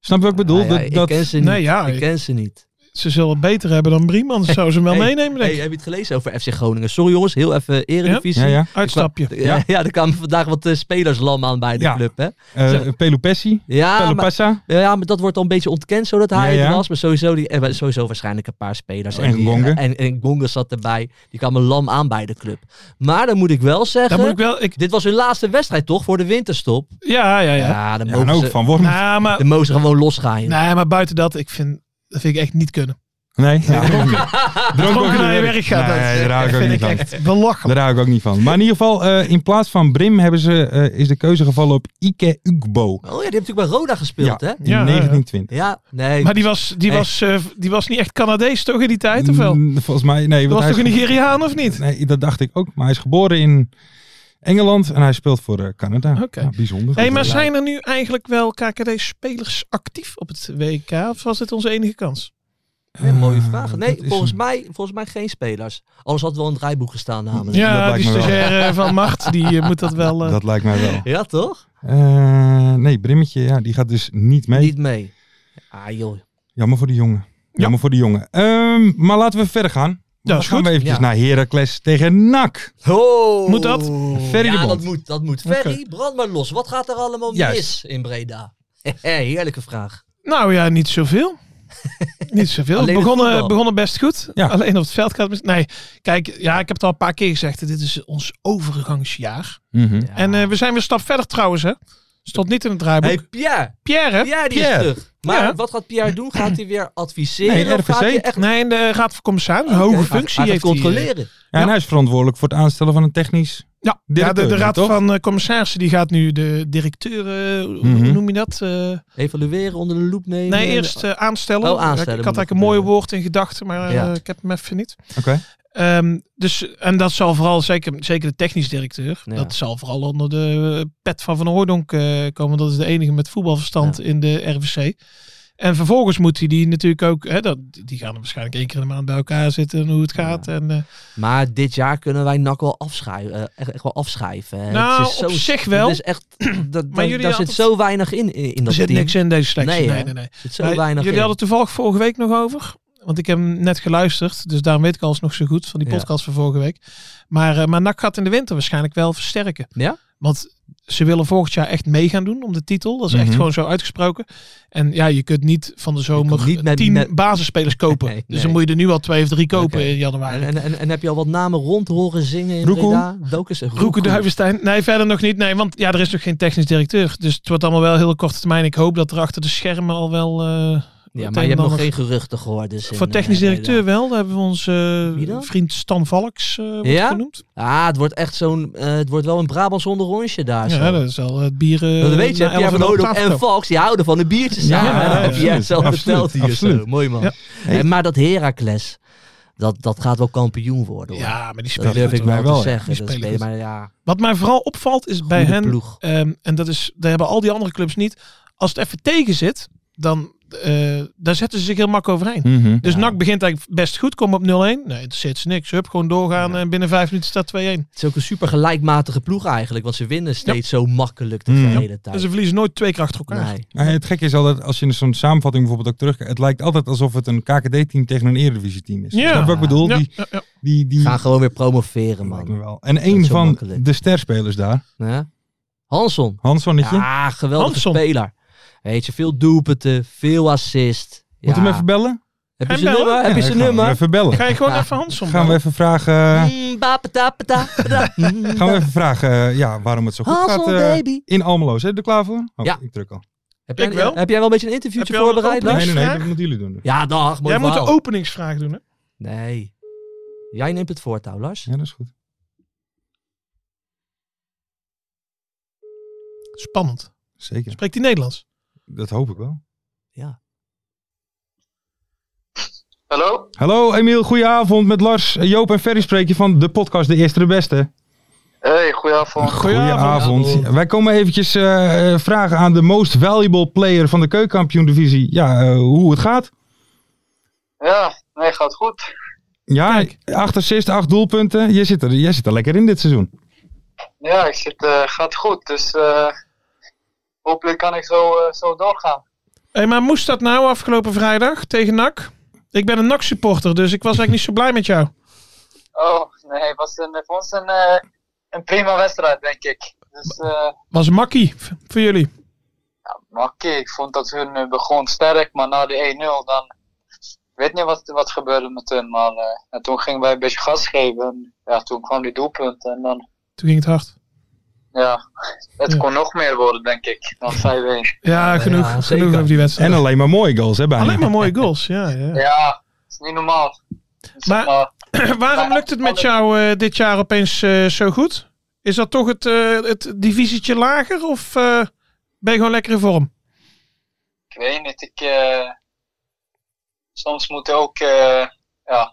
Speaker 5: Snap je wat ik bedoel?
Speaker 6: Nou ja,
Speaker 5: dat,
Speaker 6: ik
Speaker 5: dat,
Speaker 6: ken ze niet.
Speaker 7: Nee, ja,
Speaker 6: ik
Speaker 7: ik-
Speaker 6: ken ze niet.
Speaker 7: Ze zullen het beter hebben dan Brieman. Ze zou ze hem wel
Speaker 6: Hey,
Speaker 7: meenemen,
Speaker 6: Hey, eh,
Speaker 7: denk
Speaker 6: heb
Speaker 7: ik.
Speaker 6: je het gelezen over FC Groningen? Sorry jongens, heel even Eredivisie.
Speaker 5: ja, ja.
Speaker 7: Uitstapje.
Speaker 6: Ja, ja. er kwamen vandaag wat eh, spelers lam aan bij de
Speaker 5: Ja.
Speaker 6: club. Hè?
Speaker 5: Eh Pelopessi,
Speaker 6: Ja, Ah, maar,
Speaker 5: Pelopessa
Speaker 6: ja, maar dat wordt dan een beetje ontkend, zodat hij
Speaker 5: Ja, ja.
Speaker 6: er was. Maar sowieso, die, eh, sowieso waarschijnlijk een paar spelers.
Speaker 5: Oh, en
Speaker 6: die- eh,
Speaker 5: Gonga.
Speaker 6: En, en Gonga zat erbij. Die kwamen lam aan bij de club. Maar dan moet ik wel zeggen...
Speaker 7: Dan moet ik wel... Ik,
Speaker 6: Dit was hun laatste wedstrijd toch voor de winterstop?
Speaker 7: ja, ja, ja.
Speaker 6: Ja, dan
Speaker 5: ja, en
Speaker 6: mogen
Speaker 5: ook
Speaker 6: ze,
Speaker 5: van Worm.
Speaker 7: Nou, maar,
Speaker 6: dan mogen ze gewoon losgaan. joh.
Speaker 7: nee, maar buiten dat, ik vind, dat vind ik echt niet kunnen.
Speaker 5: Nee, ja. dronken
Speaker 7: Dronken naar je werk gaat, dat
Speaker 5: Nee, daar hou ik ook
Speaker 7: vind
Speaker 5: niet
Speaker 7: ik
Speaker 5: van.
Speaker 7: echt belachelijk.
Speaker 5: Daar hou ik ook niet van. Maar in ieder geval, eh, in plaats van Brim hebben ze, eh, is de keuze gevallen op Ike Ugbo.
Speaker 6: Oh ja, die heeft natuurlijk bij Roda gespeeld, hè?
Speaker 5: in
Speaker 7: Ja, ja, ja.
Speaker 5: 1920.
Speaker 6: Ja, nee.
Speaker 7: Maar die was, die,
Speaker 6: Nee.
Speaker 7: was, eh, die was niet echt Canadees toch in die tijd, of wel?
Speaker 5: Mm, Volgens mij, nee.
Speaker 7: Dat
Speaker 5: want
Speaker 7: was
Speaker 5: hij
Speaker 7: toch
Speaker 5: is
Speaker 7: een
Speaker 5: ge-
Speaker 7: Nigeriaan of niet?
Speaker 5: Nee, dat dacht ik ook. Maar hij is geboren in Engeland en hij speelt voor eh, Canada.
Speaker 7: Oké.
Speaker 5: Ja, bijzonder.
Speaker 7: Hé, maar
Speaker 5: Ja.
Speaker 7: zijn er nu eigenlijk wel KKD-spelers actief op het WK? Of was dit onze enige kans?
Speaker 6: Nee, mooie
Speaker 5: Eh,
Speaker 6: vraag.
Speaker 5: dat
Speaker 6: Nee,
Speaker 5: is
Speaker 6: volgens
Speaker 5: een-
Speaker 6: mij, volgens mij geen spelers. Anders had wel een draaiboek gestaan namelijk.
Speaker 5: dat
Speaker 7: Ja,
Speaker 5: lijkt
Speaker 7: die
Speaker 5: me wel.
Speaker 7: stagiaire van Macht, die eh, moet dat wel... eh,
Speaker 5: Dat lijkt mij wel.
Speaker 6: Ja, toch?
Speaker 5: Eh, nee, Brimmetje, ja, die gaat dus niet mee.
Speaker 6: Niet mee. Ah joh.
Speaker 5: Jammer voor die jongen. Jammer voor die jongen. Ehm, maar laten we verder gaan.
Speaker 7: Ja,
Speaker 5: Dan
Speaker 7: is
Speaker 5: gaan
Speaker 7: goed.
Speaker 5: we eventjes
Speaker 6: Ja.
Speaker 5: naar Heracles tegen NAC.
Speaker 6: Oh.
Speaker 7: Moet dat?
Speaker 5: Ferry de
Speaker 6: ja, dat
Speaker 5: Bond.
Speaker 6: moet, dat moet. Ferry, brand maar los. Wat gaat er allemaal
Speaker 5: Juist.
Speaker 6: mis in Breda? Heerlijke vraag.
Speaker 7: Nou ja, niet zoveel. niet zoveel.
Speaker 6: Alleen
Speaker 7: We
Speaker 6: het
Speaker 7: begonnen,
Speaker 6: voetbal.
Speaker 7: begonnen best goed.
Speaker 5: Ja.
Speaker 7: Alleen op het veld gaat het mis. Nee, kijk, ja, ik heb het al een paar keer gezegd. Dit is ons overgangsjaar.
Speaker 5: Mhm.
Speaker 6: Ja.
Speaker 7: En eh, we zijn weer een stap verder trouwens, hè. Stond niet in het draaiboek.
Speaker 6: hey, Pierre.
Speaker 7: Pierre, hè?
Speaker 6: Pierre, die
Speaker 5: Pierre.
Speaker 6: is terug. Maar
Speaker 7: Ja.
Speaker 6: wat gaat Pierre doen? Gaat hij weer adviseren?
Speaker 5: Nee,
Speaker 6: of gaat
Speaker 5: RVC.
Speaker 6: hij echt
Speaker 7: Nee, in de Raad van Commissarissen. Een
Speaker 6: Oké.
Speaker 7: hoge
Speaker 6: Hij-
Speaker 7: functie
Speaker 6: hij gaat
Speaker 7: heeft hij, eh,
Speaker 6: controleren.
Speaker 5: Ja, en hij is verantwoordelijk voor het aanstellen van een technisch
Speaker 7: Ja, ja
Speaker 5: Directeur,
Speaker 7: de, de raad
Speaker 5: toch?
Speaker 7: van eh, commissarissen die gaat nu de directeur, eh, hoe-
Speaker 5: Mhm.
Speaker 7: hoe noem je dat? Eh,
Speaker 6: Evalueren, onder de loep nemen.
Speaker 7: nee, eerst eh, aanstellen.
Speaker 6: Oh,
Speaker 7: Ik
Speaker 6: aanstellen moet
Speaker 7: had
Speaker 6: dat
Speaker 7: eigenlijk een mooi
Speaker 6: gebeuren.
Speaker 7: woord in gedachten, maar eh,
Speaker 6: Ja.
Speaker 7: ik heb hem even niet.
Speaker 5: Oké.
Speaker 7: Ehm, dus, en dat zal vooral, zeker, zeker de technisch directeur,
Speaker 6: Ja.
Speaker 7: dat zal vooral onder de eh, pet van Van Hooydonk eh, komen. Dat is de enige met voetbalverstand
Speaker 6: Ja.
Speaker 7: in de RVC. En vervolgens moet hij die natuurlijk ook, hè, dat, die gaan er waarschijnlijk één keer in de maand bij elkaar zitten en hoe het gaat. En, eh,
Speaker 6: Maar dit jaar kunnen wij NAC wel afschrijven. eh, echt, echt wel afschrijven. hè.
Speaker 7: Nou,
Speaker 6: Het is
Speaker 7: op zich wel.
Speaker 6: Het is echt, dat,
Speaker 7: Maar
Speaker 6: maar
Speaker 7: jullie
Speaker 6: daar zit
Speaker 7: hadden-
Speaker 6: zo weinig in, in, in
Speaker 7: er
Speaker 6: dat
Speaker 7: zit
Speaker 6: team.
Speaker 7: niks in deze selectie.
Speaker 6: Nee, hè?
Speaker 7: nee, nee. nee.
Speaker 6: Er zit zo
Speaker 7: Maar
Speaker 6: weinig
Speaker 7: jullie
Speaker 6: in.
Speaker 7: hadden het toevallig vorige week nog over. Want ik heb hem net geluisterd. Dus daarom weet ik alles nog zo goed van die
Speaker 6: Ja.
Speaker 7: podcast van vorige week. Maar, eh maar NAC gaat in de winter waarschijnlijk wel versterken.
Speaker 6: Ja?
Speaker 7: Want ze willen volgend jaar echt mee gaan doen om de titel. Dat is
Speaker 5: Mhm.
Speaker 7: echt gewoon zo uitgesproken. En ja, je kunt niet van de zomer
Speaker 6: niet met-
Speaker 7: tien
Speaker 6: met-
Speaker 7: basisspelers kopen.
Speaker 6: Nee,
Speaker 7: Dus
Speaker 6: nee.
Speaker 7: dan moet je er nu al twee of drie kopen
Speaker 6: Oké.
Speaker 7: in januari.
Speaker 6: En, en, en, en heb je al wat namen rond horen zingen in
Speaker 5: Roekel?
Speaker 6: Breda? Welke is het?
Speaker 7: Roeken Duivenstein. Nee, verder nog niet. Nee, want ja, er is nog geen technisch directeur. Dus het wordt allemaal wel heel korte termijn. Ik hoop dat er achter de schermen al wel... eh,
Speaker 6: Ja, maar
Speaker 7: meteen
Speaker 6: je hebt
Speaker 7: dan
Speaker 6: nog
Speaker 7: nog-
Speaker 6: geen geruchten gehoord. Dus in,
Speaker 7: voor
Speaker 6: eh,
Speaker 7: technisch
Speaker 6: Breda.
Speaker 7: directeur wel. Daar hebben we onze eh,
Speaker 6: Wie dan?
Speaker 7: vriend Stan Valks eh, wordt
Speaker 6: Ja?
Speaker 7: genoemd.
Speaker 6: Ah, het wordt echt zo'n... eh, het wordt wel een Brabants onderrondje daar. zo.
Speaker 7: Ja, dat is al het bier. eh,
Speaker 6: dat weet je,
Speaker 7: na
Speaker 6: hè, Pierre
Speaker 7: elf
Speaker 6: van
Speaker 7: uur op
Speaker 6: Hodok
Speaker 7: tafel
Speaker 6: en
Speaker 7: komen.
Speaker 6: Valks, die houden van de biertjes
Speaker 5: Ja,
Speaker 6: samen.
Speaker 5: ja,
Speaker 6: hè? dat heb
Speaker 5: absoluut,
Speaker 6: jij het zelf
Speaker 5: absoluut,
Speaker 6: verteld hier zo.
Speaker 5: absoluut.
Speaker 6: Mooi man.
Speaker 7: Ja.
Speaker 6: Eh, maar dat Heracles, dat, dat gaat wel kampioen worden. hoor.
Speaker 7: Ja, maar die
Speaker 6: dat
Speaker 7: spelen
Speaker 6: durf
Speaker 7: goed,
Speaker 6: ik
Speaker 7: hoor.
Speaker 6: wel
Speaker 5: wij
Speaker 6: te
Speaker 5: wel, ja.
Speaker 6: zeggen.
Speaker 7: Die
Speaker 6: Dat
Speaker 7: spelen
Speaker 6: spelen,
Speaker 7: goed.
Speaker 6: maar ja,
Speaker 7: Wat mij vooral opvalt is bij
Speaker 6: goede
Speaker 7: hen,
Speaker 6: ploeg.
Speaker 7: ehm, en dat is, daar hebben al die andere clubs niet. Als het even tegen zit, dan eh, daar zetten ze zich heel mak overheen.
Speaker 5: Mhm.
Speaker 7: Dus
Speaker 6: Hm. Ja.
Speaker 7: NAC begint eigenlijk best goed, komen op 0-1. Nee, het zit ze niks. Hup, gewoon doorgaan en binnen vijf minuten staat 2-1.
Speaker 6: Het is ook een super gelijkmatige ploeg eigenlijk. Want ze winnen steeds zo makkelijk de
Speaker 5: Mm.
Speaker 6: hele tijd.
Speaker 7: En ze verliezen nooit twee keer achter elkaar.
Speaker 6: Nee.
Speaker 5: Maar het gekke is altijd, als je zo'n samenvatting bijvoorbeeld ook terugkijkt, het lijkt altijd alsof het een KKD-team tegen een Eredivisie-team is.
Speaker 7: Ja.
Speaker 5: Snap je wat ik bedoel?
Speaker 7: Ja,
Speaker 5: Die,
Speaker 7: ja, ja.
Speaker 5: die, die,
Speaker 6: Gaan gewoon weer promoveren,
Speaker 5: Lijkt me
Speaker 6: man.
Speaker 5: wel. En
Speaker 6: Dat
Speaker 5: een
Speaker 6: is zo
Speaker 5: van
Speaker 6: makkelijk.
Speaker 5: de sterspelers daar,
Speaker 6: Ja? Hanson.
Speaker 5: Hanssonnetje,
Speaker 6: Ja, geweldige
Speaker 7: Hansson.
Speaker 6: speler. Weet je, veel doelpunten, veel assist. Ja.
Speaker 5: moet hem even bellen?
Speaker 6: Heb je
Speaker 7: Hem
Speaker 6: zijn
Speaker 7: bellen?
Speaker 6: nummer? Heb je
Speaker 5: Ja,
Speaker 6: zijn
Speaker 5: gaan we hem
Speaker 6: nummer?
Speaker 5: Even bellen.
Speaker 7: Ga je gewoon
Speaker 6: Ja.
Speaker 7: even Hansom
Speaker 5: Gaan we even vragen, eh,
Speaker 6: Mm, ba, pa, ta, pa, ta, pa, ta. Mm,
Speaker 5: gaan we
Speaker 6: ba.
Speaker 5: even vragen eh, ja, waarom het zo goed
Speaker 6: Hanson,
Speaker 5: gaat eh,
Speaker 6: baby.
Speaker 5: in Almelo. Zijn jullie er klaar voor? Oh,
Speaker 6: Ja.
Speaker 5: ik druk al.
Speaker 6: Heb jij,
Speaker 7: Ik wel.
Speaker 6: heb jij wel een beetje een interviewtje
Speaker 7: Heb je al een
Speaker 6: voorbereid,
Speaker 7: opening?
Speaker 6: Lars?
Speaker 5: Nee, nee, nee,
Speaker 7: vraag?
Speaker 5: dat moeten jullie doen. dus.
Speaker 6: Ja, dag. Mooi
Speaker 7: Jij moet de
Speaker 6: verhaal.
Speaker 7: openingsvraag doen, hè?
Speaker 6: Nee. Jij neemt het voortouw, Lars.
Speaker 5: Ja, dat is goed.
Speaker 7: Spannend.
Speaker 5: Zeker.
Speaker 7: Spreekt hij Nederlands?
Speaker 5: Dat hoop ik wel.
Speaker 6: Ja.
Speaker 8: Hallo?
Speaker 5: Hallo Emiel, goedenavond. Met Lars, Joop en Ferry spreek je van de podcast De Eerste de Beste.
Speaker 8: Hey, goedenavond.
Speaker 5: Goedenavond. Wij komen eventjes eh, eh, vragen aan de most valuable player van de keukenkampioen divisie. Ja, eh, hoe het gaat.
Speaker 8: Ja, nee, gaat goed.
Speaker 5: Ja, acht assist, acht doelpunten. Jij zit, er, jij zit er lekker in dit seizoen.
Speaker 8: Ja, ik zit, eh, gaat goed. Dus eh, hopelijk kan ik zo, eh, zo doorgaan.
Speaker 7: Hey, maar moest dat nou afgelopen vrijdag tegen NAC? Ik ben een NAC-supporter, dus ik was eigenlijk niet zo blij met jou.
Speaker 8: Oh, nee, het was een, voor ons een, eh, een prima wedstrijd, denk ik. Dus, eh
Speaker 7: Was makkie v- voor jullie.
Speaker 8: maar oké, ik vond dat hun eh, begon sterk, maar na de 1-0 dan... Ik weet niet wat, wat gebeurde met hun, maar eh, en toen gingen wij een beetje gas geven. En, Ja, toen kwam die doelpunt en dan...
Speaker 7: Toen ging het hard.
Speaker 8: Ja, het
Speaker 7: Ja.
Speaker 8: kon nog meer worden, denk ik, dan 5-1.
Speaker 7: Ja, genoeg,
Speaker 6: ja, zeker.
Speaker 7: genoeg over die wedstrijd.
Speaker 5: En alleen maar mooie goals, hè, bijna.
Speaker 7: Alleen maar mooie goals, ja. ja.
Speaker 8: Ja, het is niet normaal.
Speaker 7: Maar-
Speaker 8: Maar,
Speaker 7: Waarom lukt het met jou eh, dit jaar opeens eh, zo goed? Is dat toch het, eh, het divisietje lager of eh, ben je gewoon lekker in vorm?
Speaker 8: ik weet niet, ik... eh, soms moet je ook eh, ja,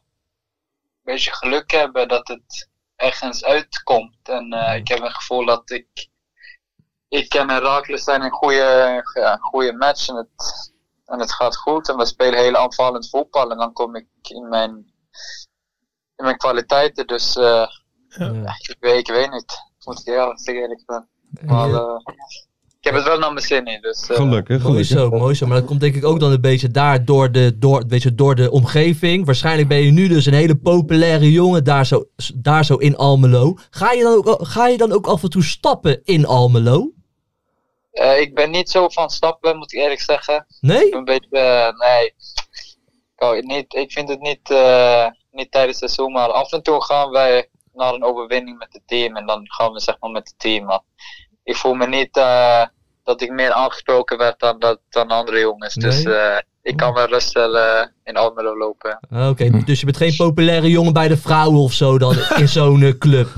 Speaker 8: een beetje geluk hebben dat het ergens uitkomt. En eh, ik heb een gevoel dat ik... Ik en Herakles zijn een goede, ja, goede match en het, en het gaat goed. En we spelen heel aanvallend voetbal en dan kom ik in mijn, in mijn kwaliteiten. Dus eh,
Speaker 6: Ja.
Speaker 8: ik, weet, ik weet niet, moet ik eerlijk zeggen, eerlijk ben.
Speaker 7: Oh,
Speaker 8: Maar eh, ik heb het wel naar mijn zin in, dus... eh,
Speaker 5: Gelukkig,
Speaker 6: Mooi
Speaker 5: gelukkig.
Speaker 6: zo, mooi zo. Maar dat komt denk ik ook dan een beetje daar door de, door, weet je, door de omgeving. Waarschijnlijk ben je nu dus een hele populaire jongen daar zo, daar zo in Almelo. Ga je, dan ook, al- ga je dan ook af en toe stappen in Almelo?
Speaker 8: Eh, ik ben niet zo van stappen, moet ik eerlijk zeggen. Ik
Speaker 6: Nee?
Speaker 8: ben een beetje, eh, nee. Ik, hou het niet, ik vind het niet, eh, niet tijdens het seizoen, maar af en toe gaan wij naar een overwinning met het team. En dan gaan we zeg maar met het team. Maar ik voel me niet eh, dat ik meer aangesproken werd dan, dat, dan andere jongens.
Speaker 6: Nee?
Speaker 8: Dus eh, ik kan wel rustig eh, in Almelo lopen.
Speaker 6: Oké, dus je bent geen populaire jongen bij de vrouwen of zo dan in zo'n eh, club.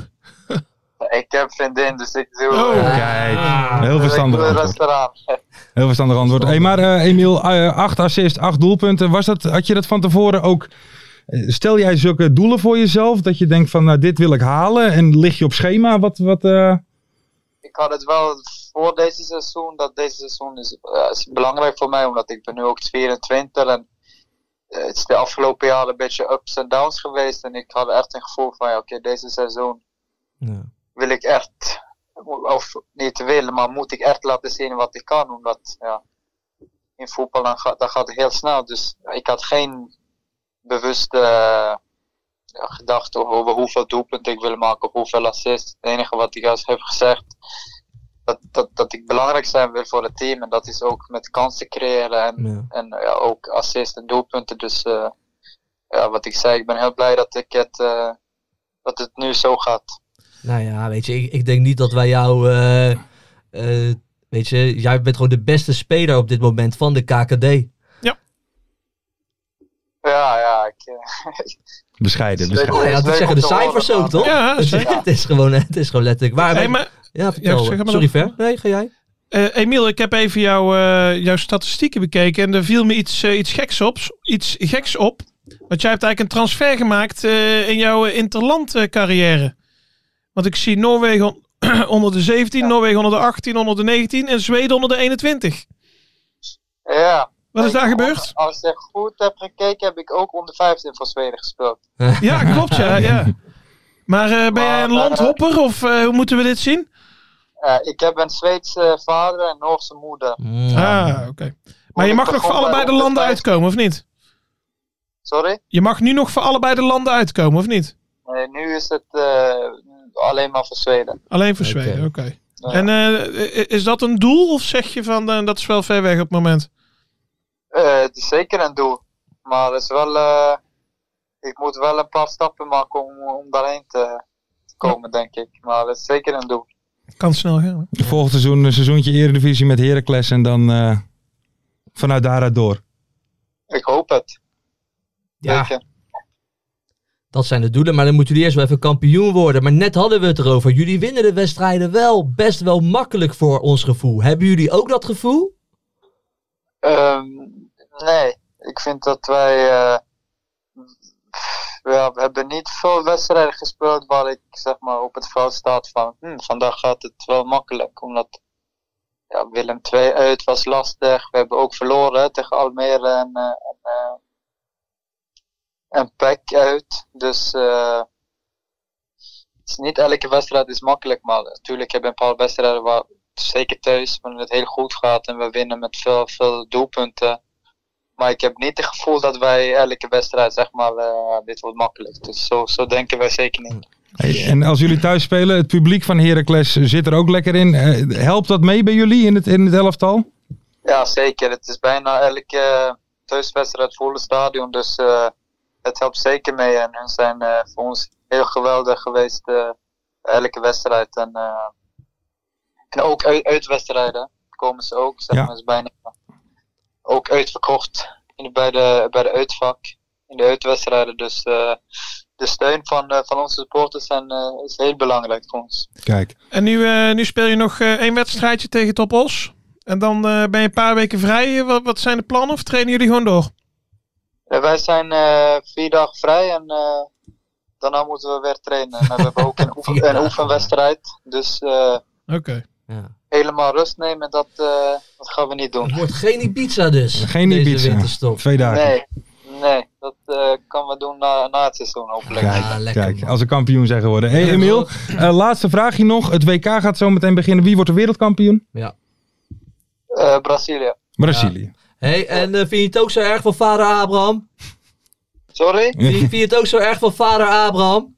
Speaker 8: Ik heb vriendin, dus ik doe...
Speaker 7: Oh,
Speaker 8: eh,
Speaker 5: Kijk,
Speaker 6: Ah.
Speaker 5: heel
Speaker 8: dus ik
Speaker 5: verstandig
Speaker 8: doe
Speaker 5: antwoord.
Speaker 8: rustig aan.
Speaker 5: Heel verstandig antwoord. Hey, maar eh, Emiel, eh, acht assist, acht doelpunten. Was dat, had je dat van tevoren ook... eh, Stel jij zulke doelen voor jezelf? Dat je denkt van, nou, dit wil ik halen. En lig je op schema? Wat, wat, eh,
Speaker 8: ik had het wel voor deze seizoen, dat deze seizoen is, eh, is belangrijk voor mij, omdat ik ben nu ook 22 en eh, het is de afgelopen jaren een beetje ups en downs geweest en ik had echt een gevoel van, ja, oké, deze seizoen
Speaker 6: Ja.
Speaker 8: wil ik echt, of niet willen, maar moet ik echt laten zien wat ik kan, omdat ja, in voetbal dan gaat, dat gaat het heel snel, dus ik had geen bewuste eh, ja, gedachte over hoeveel doelpunten ik wil maken, of hoeveel assists. Het enige wat ik juist heb gezegd, dat, dat, dat ik belangrijk zijn wil voor het team. En dat is ook met kansen creëren en,
Speaker 6: Ja.
Speaker 8: en eh, ja, ook assist en doelpunten. Dus eh, ja, wat ik zei, ik ben heel blij dat, ik het, eh, dat het nu zo gaat.
Speaker 6: Nou ja, weet je, ik, ik denk niet dat wij jou. eh, eh, weet je, jij bent gewoon de beste speler op dit moment van de KKD.
Speaker 8: Ja, ja. Ik, eh,
Speaker 5: Bescheiden,
Speaker 8: Zeker.
Speaker 5: bescheiden.
Speaker 6: Nou ja,
Speaker 8: is
Speaker 6: dat
Speaker 8: leuk
Speaker 6: zeggen
Speaker 8: om
Speaker 6: de
Speaker 8: te horen,
Speaker 6: cijfers ook,
Speaker 8: maar-
Speaker 6: toch?
Speaker 7: Ja,
Speaker 6: Oh, het, is, Ah,
Speaker 7: zeker.
Speaker 6: het, is gewoon, het is gewoon letterlijk. Waar
Speaker 7: Hey,
Speaker 6: wij-
Speaker 7: maar,
Speaker 6: ja,
Speaker 7: Ja,
Speaker 6: vertel.
Speaker 7: zeg maar
Speaker 6: Sorry,
Speaker 7: dan.
Speaker 6: Ver. Nee, ga jij.
Speaker 7: eh, Emiel, ik heb even jouw, eh, jouw statistieken bekeken. En er viel me iets, eh, iets, geks op, iets geks op. Want jij hebt eigenlijk een transfer gemaakt eh, in jouw interland eh, carrière. Want ik zie Noorwegen on- onder de 17, Noorwegen onder de 18, onder de 19 en Zweden onder de 21.
Speaker 8: ja.
Speaker 7: Wat is daar
Speaker 8: Ik-
Speaker 7: gebeurd?
Speaker 8: Als ik goed heb gekeken, heb ik ook onder 15 voor Zweden gespeeld.
Speaker 7: Ja, klopt ja. ja. Maar eh, ben jij een
Speaker 8: Maar, eh,
Speaker 7: landhopper of eh, hoe moeten we dit zien?
Speaker 8: Eh, ik heb een Zweedse vader en Noorse moeder.
Speaker 6: Mm.
Speaker 7: Ah, oké. Maar je mag nog voor allebei de landen uitkomen, of niet?
Speaker 8: Sorry?
Speaker 7: Je mag nu nog voor allebei de landen uitkomen, of niet?
Speaker 8: Nee, nu is het eh, alleen maar voor Zweden.
Speaker 7: Alleen voor
Speaker 6: Oké.
Speaker 7: Zweden, oké.
Speaker 8: Ja.
Speaker 7: En eh, i- is dat een doel of zeg je van eh, dat is wel ver weg op het moment?
Speaker 8: Eh, het is zeker een doel. Maar het is wel, eh, ik moet wel een paar stappen maken om, om daarheen te komen, denk ik. Maar het is zeker een doel.
Speaker 7: Kan snel gaan. hè?
Speaker 5: Volgend seizoen een seizoentje Eredivisie met Heracles en dan eh, vanuit daaruit door.
Speaker 8: Ik hoop het.
Speaker 6: Ja,
Speaker 8: Zeker.
Speaker 6: dat zijn de doelen. Maar dan moeten jullie eerst wel even kampioen worden. Maar net hadden we het erover. Jullie winnen de wedstrijden wel best wel makkelijk voor ons gevoel. Hebben jullie ook dat gevoel?
Speaker 8: Ehm, nee, ik vind dat wij. eh, pff, ja, we hebben niet veel wedstrijden gespeeld waar ik zeg maar, op het veld staat van. Hm, vandaag gaat het wel makkelijk. Omdat ja, Willem II uit was lastig. We hebben ook verloren hè, tegen Almere en, eh en, eh, en PEC uit. Dus. eh, het is niet elke wedstrijd is makkelijk, maar natuurlijk hebben we een paar wedstrijden waar, zeker thuis, wanneer het heel goed gaat en we winnen met veel, veel doelpunten. Maar ik heb niet het gevoel dat wij elke wedstrijd, zeg maar, eh, dit wordt makkelijk. Dus zo, zo denken wij zeker niet.
Speaker 5: Hey, en als jullie thuis spelen, het publiek van Heracles zit er ook lekker in. Eh, helpt dat mee bij jullie in het, in het elftal?
Speaker 8: Ja, zeker. Het is bijna elke eh, thuiswedstrijd volle stadion. Dus eh, het helpt zeker mee. En hun zijn eh, voor ons heel geweldig geweest, eh, elke wedstrijd. En, eh, en ook uit, uitwedstrijden komen ze ook. Zeg
Speaker 5: Ja.
Speaker 8: maar, is bijna ook uitverkocht in de, bij, de, bij de uitvak, in de uitwedstrijden. Dus eh, de steun van, eh, van onze supporters zijn, eh, is heel belangrijk voor ons.
Speaker 5: Kijk,
Speaker 7: En nu, eh, nu speel je nog eh, één wedstrijdje tegen Top Os. En dan eh, ben je een paar weken vrij. Eh, Wat, wat zijn de plannen of trainen jullie gewoon door?
Speaker 8: Ja, wij zijn eh, vier dagen vrij en eh, daarna moeten we weer trainen. En we hebben ook een, oefen,
Speaker 6: Vier
Speaker 8: een
Speaker 6: dagen.
Speaker 8: oefenwedstrijd. Dus eh,
Speaker 7: Oké.
Speaker 6: Ja.
Speaker 8: helemaal rust nemen, dat, eh, dat gaan we niet doen.
Speaker 6: Het wordt geen Ibiza dus.
Speaker 5: geen
Speaker 6: deze
Speaker 5: Ibiza.
Speaker 6: winterstop.
Speaker 5: Twee dagen.
Speaker 8: Nee, nee dat eh kunnen we doen na, na het seizoen hopelijk.
Speaker 5: Kijk,
Speaker 6: Ah, lekker,
Speaker 5: kijk
Speaker 6: man.
Speaker 5: als een kampioen zijn geworden. Hey
Speaker 6: Ja,
Speaker 5: Emiel, eh, laatste vraagje nog. Het WK gaat zo meteen beginnen. Wie wordt de wereldkampioen?
Speaker 8: Eh, Brazilië.
Speaker 5: Brazilië.
Speaker 6: hey, en eh, vind je het ook zo erg van vader Abraham?
Speaker 8: Sorry?
Speaker 6: Vind je, vind je het ook zo erg van vader Abraham?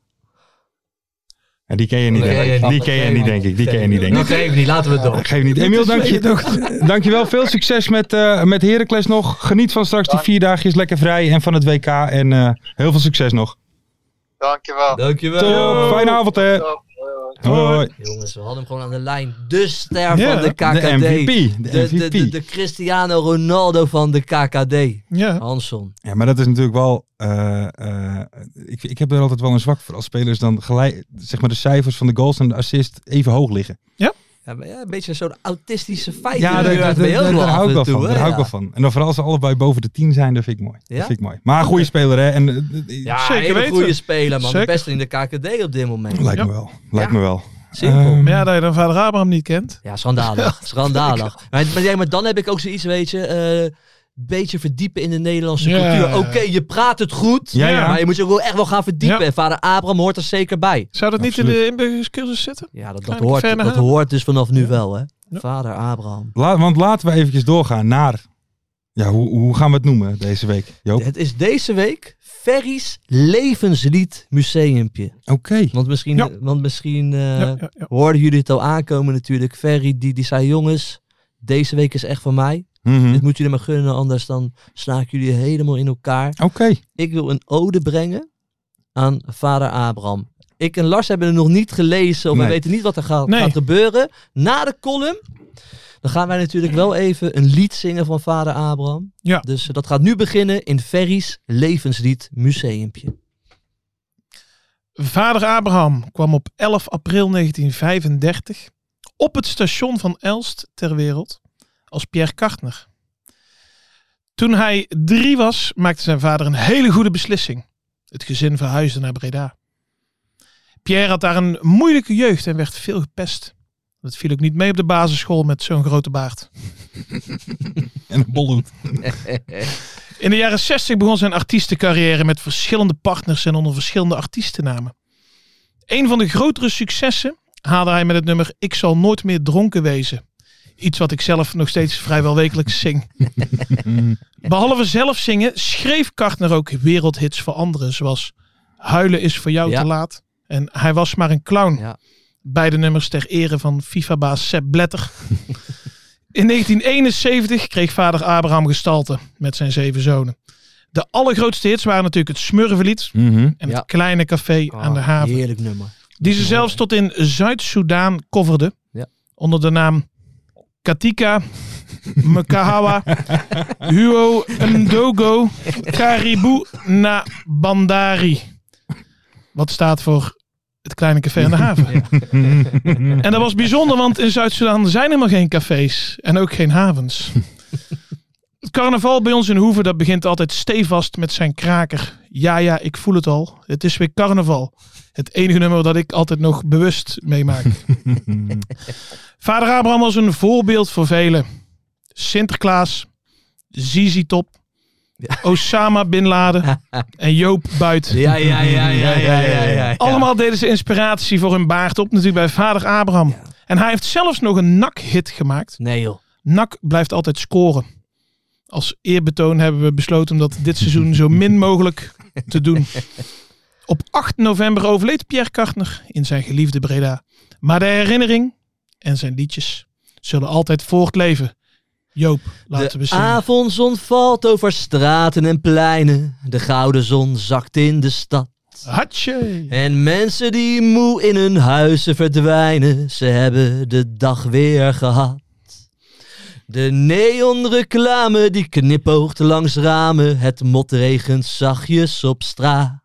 Speaker 5: En die ken je niet,
Speaker 6: Nee,
Speaker 5: denk ik.
Speaker 6: nee,
Speaker 5: Die
Speaker 6: nee.
Speaker 5: ken je niet, denk ik. Die ken je niet, denk ik.
Speaker 6: Dat geeft niet, laten we het door.
Speaker 5: Geef niet. Emiel, dank je, dankjewel. Veel succes met, eh met Heracles nog. Geniet van straks die vier dagjes lekker vrij en van het WK. En eh, heel veel succes nog.
Speaker 8: Dankjewel.
Speaker 6: Dankjewel.
Speaker 5: Top, fijne avond hè.
Speaker 8: Top. Hoi, hoi.
Speaker 5: Hoi.
Speaker 6: Jongens, we hadden hem gewoon aan de lijn. De ster
Speaker 7: Ja,
Speaker 6: van de
Speaker 7: de
Speaker 6: KKD.
Speaker 5: De MVP.
Speaker 6: De,
Speaker 5: De
Speaker 6: de, de,
Speaker 5: MVP.
Speaker 6: de Cristiano Ronaldo van de KKD.
Speaker 7: Ja.
Speaker 6: Hanson.
Speaker 5: Ja, maar dat is natuurlijk wel... eh, eh, ik, ik heb er altijd wel een zwak voor als spelers dan gelijk... Zeg maar de cijfers van de goals en de assist even hoog liggen.
Speaker 6: Ja, maar ja, een beetje zo'n autistische feit.
Speaker 5: Ja, daar, daar, daar, daar hou ik wel van. Daar hou ik wel van. En dan vooral als ze allebei boven de 10 zijn, dat vind ik mooi.
Speaker 6: Ja?
Speaker 5: Dat vind ik mooi. Maar een goede speler, hè? En, eh, eh,
Speaker 6: Ja,
Speaker 7: Zeker
Speaker 6: Zeker hele
Speaker 7: weten.
Speaker 6: goede speler, man.
Speaker 7: Zeker.
Speaker 6: De beste in de KKD op dit moment.
Speaker 5: Lijkt
Speaker 7: Ja.
Speaker 5: me wel. Lijkt
Speaker 6: Ja.
Speaker 5: me wel.
Speaker 6: Simpel.
Speaker 5: Ehm,
Speaker 7: Maar ja, dat je dan vader Abraham niet kent.
Speaker 6: Ja, schandalig. Schandalig. Maar, maar, ja, maar dan heb ik ook zoiets, weet je... eh, beetje verdiepen in de Nederlandse
Speaker 7: Ja.
Speaker 6: cultuur. Oké, je praat het goed,
Speaker 5: Ja, ja.
Speaker 6: maar je moet je ook wel echt wel gaan verdiepen.
Speaker 7: Ja.
Speaker 6: En vader Abraham hoort er zeker bij.
Speaker 7: Zou dat niet in de
Speaker 5: Absoluut.
Speaker 7: inburgeringscursus zitten?
Speaker 6: Ja, dat, dat,
Speaker 7: Kleine
Speaker 6: hoort,
Speaker 7: Verna
Speaker 6: dat
Speaker 7: Haven.
Speaker 6: hoort dus vanaf nu wel, hè.
Speaker 7: Ja.
Speaker 6: Vader Abraham.
Speaker 5: la- want laten we eventjes doorgaan naar... Ja, hoe, hoe gaan we het noemen deze week, Joop?
Speaker 6: Het is deze week Ferry's Levenslied Museumpje.
Speaker 5: Oké.
Speaker 6: Want misschien,
Speaker 7: Ja.
Speaker 6: want misschien eh,
Speaker 7: Ja, ja, ja.
Speaker 6: hoorden jullie het al aankomen natuurlijk. Ferry die, die zei, jongens, deze week is echt van mij.
Speaker 7: Hm?
Speaker 5: Mhm.
Speaker 6: Dit moeten jullie maar gunnen, anders dan sla ik jullie helemaal in elkaar.
Speaker 5: Oké.
Speaker 6: Ik wil een ode brengen aan vader Abraham. Ik en Lars hebben het nog niet gelezen, of
Speaker 5: Nee.
Speaker 6: we weten niet wat er gaat,
Speaker 7: Nee.
Speaker 6: gaat gebeuren. Na de column, dan gaan wij natuurlijk wel even een lied zingen van vader Abraham.
Speaker 7: Ja.
Speaker 6: Dus eh, dat gaat nu beginnen in Ferry's Levenslied Museumpje.
Speaker 7: Vader Abraham kwam op 11 april 1935 op het station van Elst ter wereld als Pierre Kartner. Toen hij drie was, maakte zijn vader een hele goede beslissing. Het gezin verhuisde naar Breda. Pierre had daar een moeilijke jeugd en werd veel gepest. Dat viel ook niet mee op de basisschool met zo'n grote baard.
Speaker 5: En een bolhoed.
Speaker 7: In de jaren 60 begon zijn artiestencarrière met verschillende partners en onder verschillende artiestennamen. Een van de grotere successen haalde hij met het nummer Ik zal nooit meer dronken wezen. Iets wat ik zelf nog steeds vrijwel wekelijks zing. Behalve zelf zingen schreef Kartner ook wereldhits voor anderen, zoals Huilen is voor jou
Speaker 6: Ja.
Speaker 7: te laat en Hij was maar een clown.
Speaker 6: Ja.
Speaker 7: Beide nummers ter ere van FIFA-baas Sepp Blatter. In 1971 kreeg vader Abraham gestalte met zijn zeven zonen. De allergrootste hits waren natuurlijk het Smurvenlied
Speaker 5: Mhm.
Speaker 7: en
Speaker 6: Ja.
Speaker 7: het kleine café aan de
Speaker 6: Ah,
Speaker 7: haven.
Speaker 6: Heerlijk nummer.
Speaker 7: Die ze zelfs tot in Zuid-Soedan coverde.
Speaker 6: Ja.
Speaker 7: Onder de naam Katika, Mekahawa, Huo Ndogo, Karibu na Bandari. Wat staat voor het kleine café aan de haven. En dat was bijzonder, want in Zuid-Soedan zijn helemaal geen cafés en ook geen havens. Het carnaval bij ons in Hoeven, dat begint altijd stevast met zijn kraker. Ja, ja, ik voel het al. Het is weer carnaval. Het enige nummer dat ik altijd nog bewust meemaak. Vader Abraham was een voorbeeld voor velen. Sinterklaas, Zizi Top, Osama Bin Laden en Joop Buit.
Speaker 6: Ja, ja, ja, ja, ja, ja. ja,
Speaker 7: Allemaal deden ze inspiratie voor hun baard op natuurlijk bij vader Abraham. En hij heeft zelfs nog een NAC-hit gemaakt.
Speaker 6: Nee joh.
Speaker 7: NAC blijft altijd scoren. Als eerbetoon hebben we besloten om dat dit seizoen zo min mogelijk te doen. Op 8 november overleed Pierre Kartner in zijn geliefde Breda. Maar de herinnering en zijn liedjes zullen altijd voortleven. Joop, laten we
Speaker 6: de
Speaker 7: zien.
Speaker 6: avondzon valt over straten en pleinen. De gouden zon zakt in de stad.
Speaker 7: Hatje!
Speaker 6: En mensen die moe in hun huizen verdwijnen, ze hebben de dag weer gehad. De neonreclame die knipoogt langs ramen, het motregent zachtjes op straat.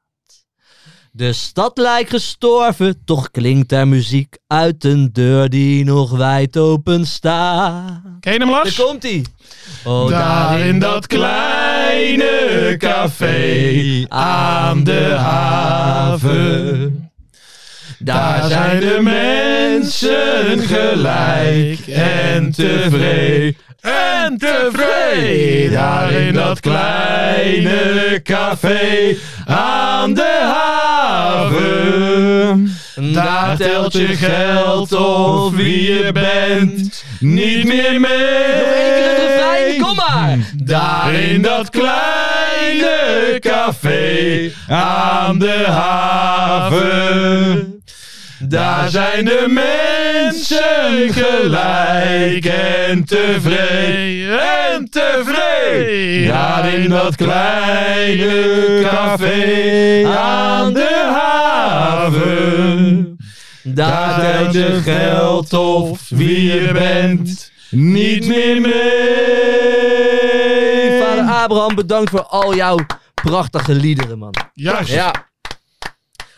Speaker 6: De stad lijkt gestorven, toch klinkt er muziek uit een deur die nog wijd open staat.
Speaker 7: Ken je hem,
Speaker 6: Daar
Speaker 7: Lars?
Speaker 6: komt ie. Oh,
Speaker 7: Daar in dat kleine café aan de haven. Daar zijn de mensen gelijk en tevreden. En tevreden daar in dat kleine café aan de haven. Daar telt je geld of wie je bent niet meer
Speaker 6: Nog één keer het refrein,
Speaker 7: mee.
Speaker 6: kom maar.
Speaker 7: Daar in dat kleine café aan de haven. Daar zijn de mensen gelijk en tevreden. En tevreden. Daar in dat kleine café aan de haven.
Speaker 6: Daar
Speaker 7: Daar telt je geld of wie je bent niet meer mee.
Speaker 6: Vader Abraham, bedankt voor al jouw prachtige liederen, man.
Speaker 7: Juist.
Speaker 6: Ja.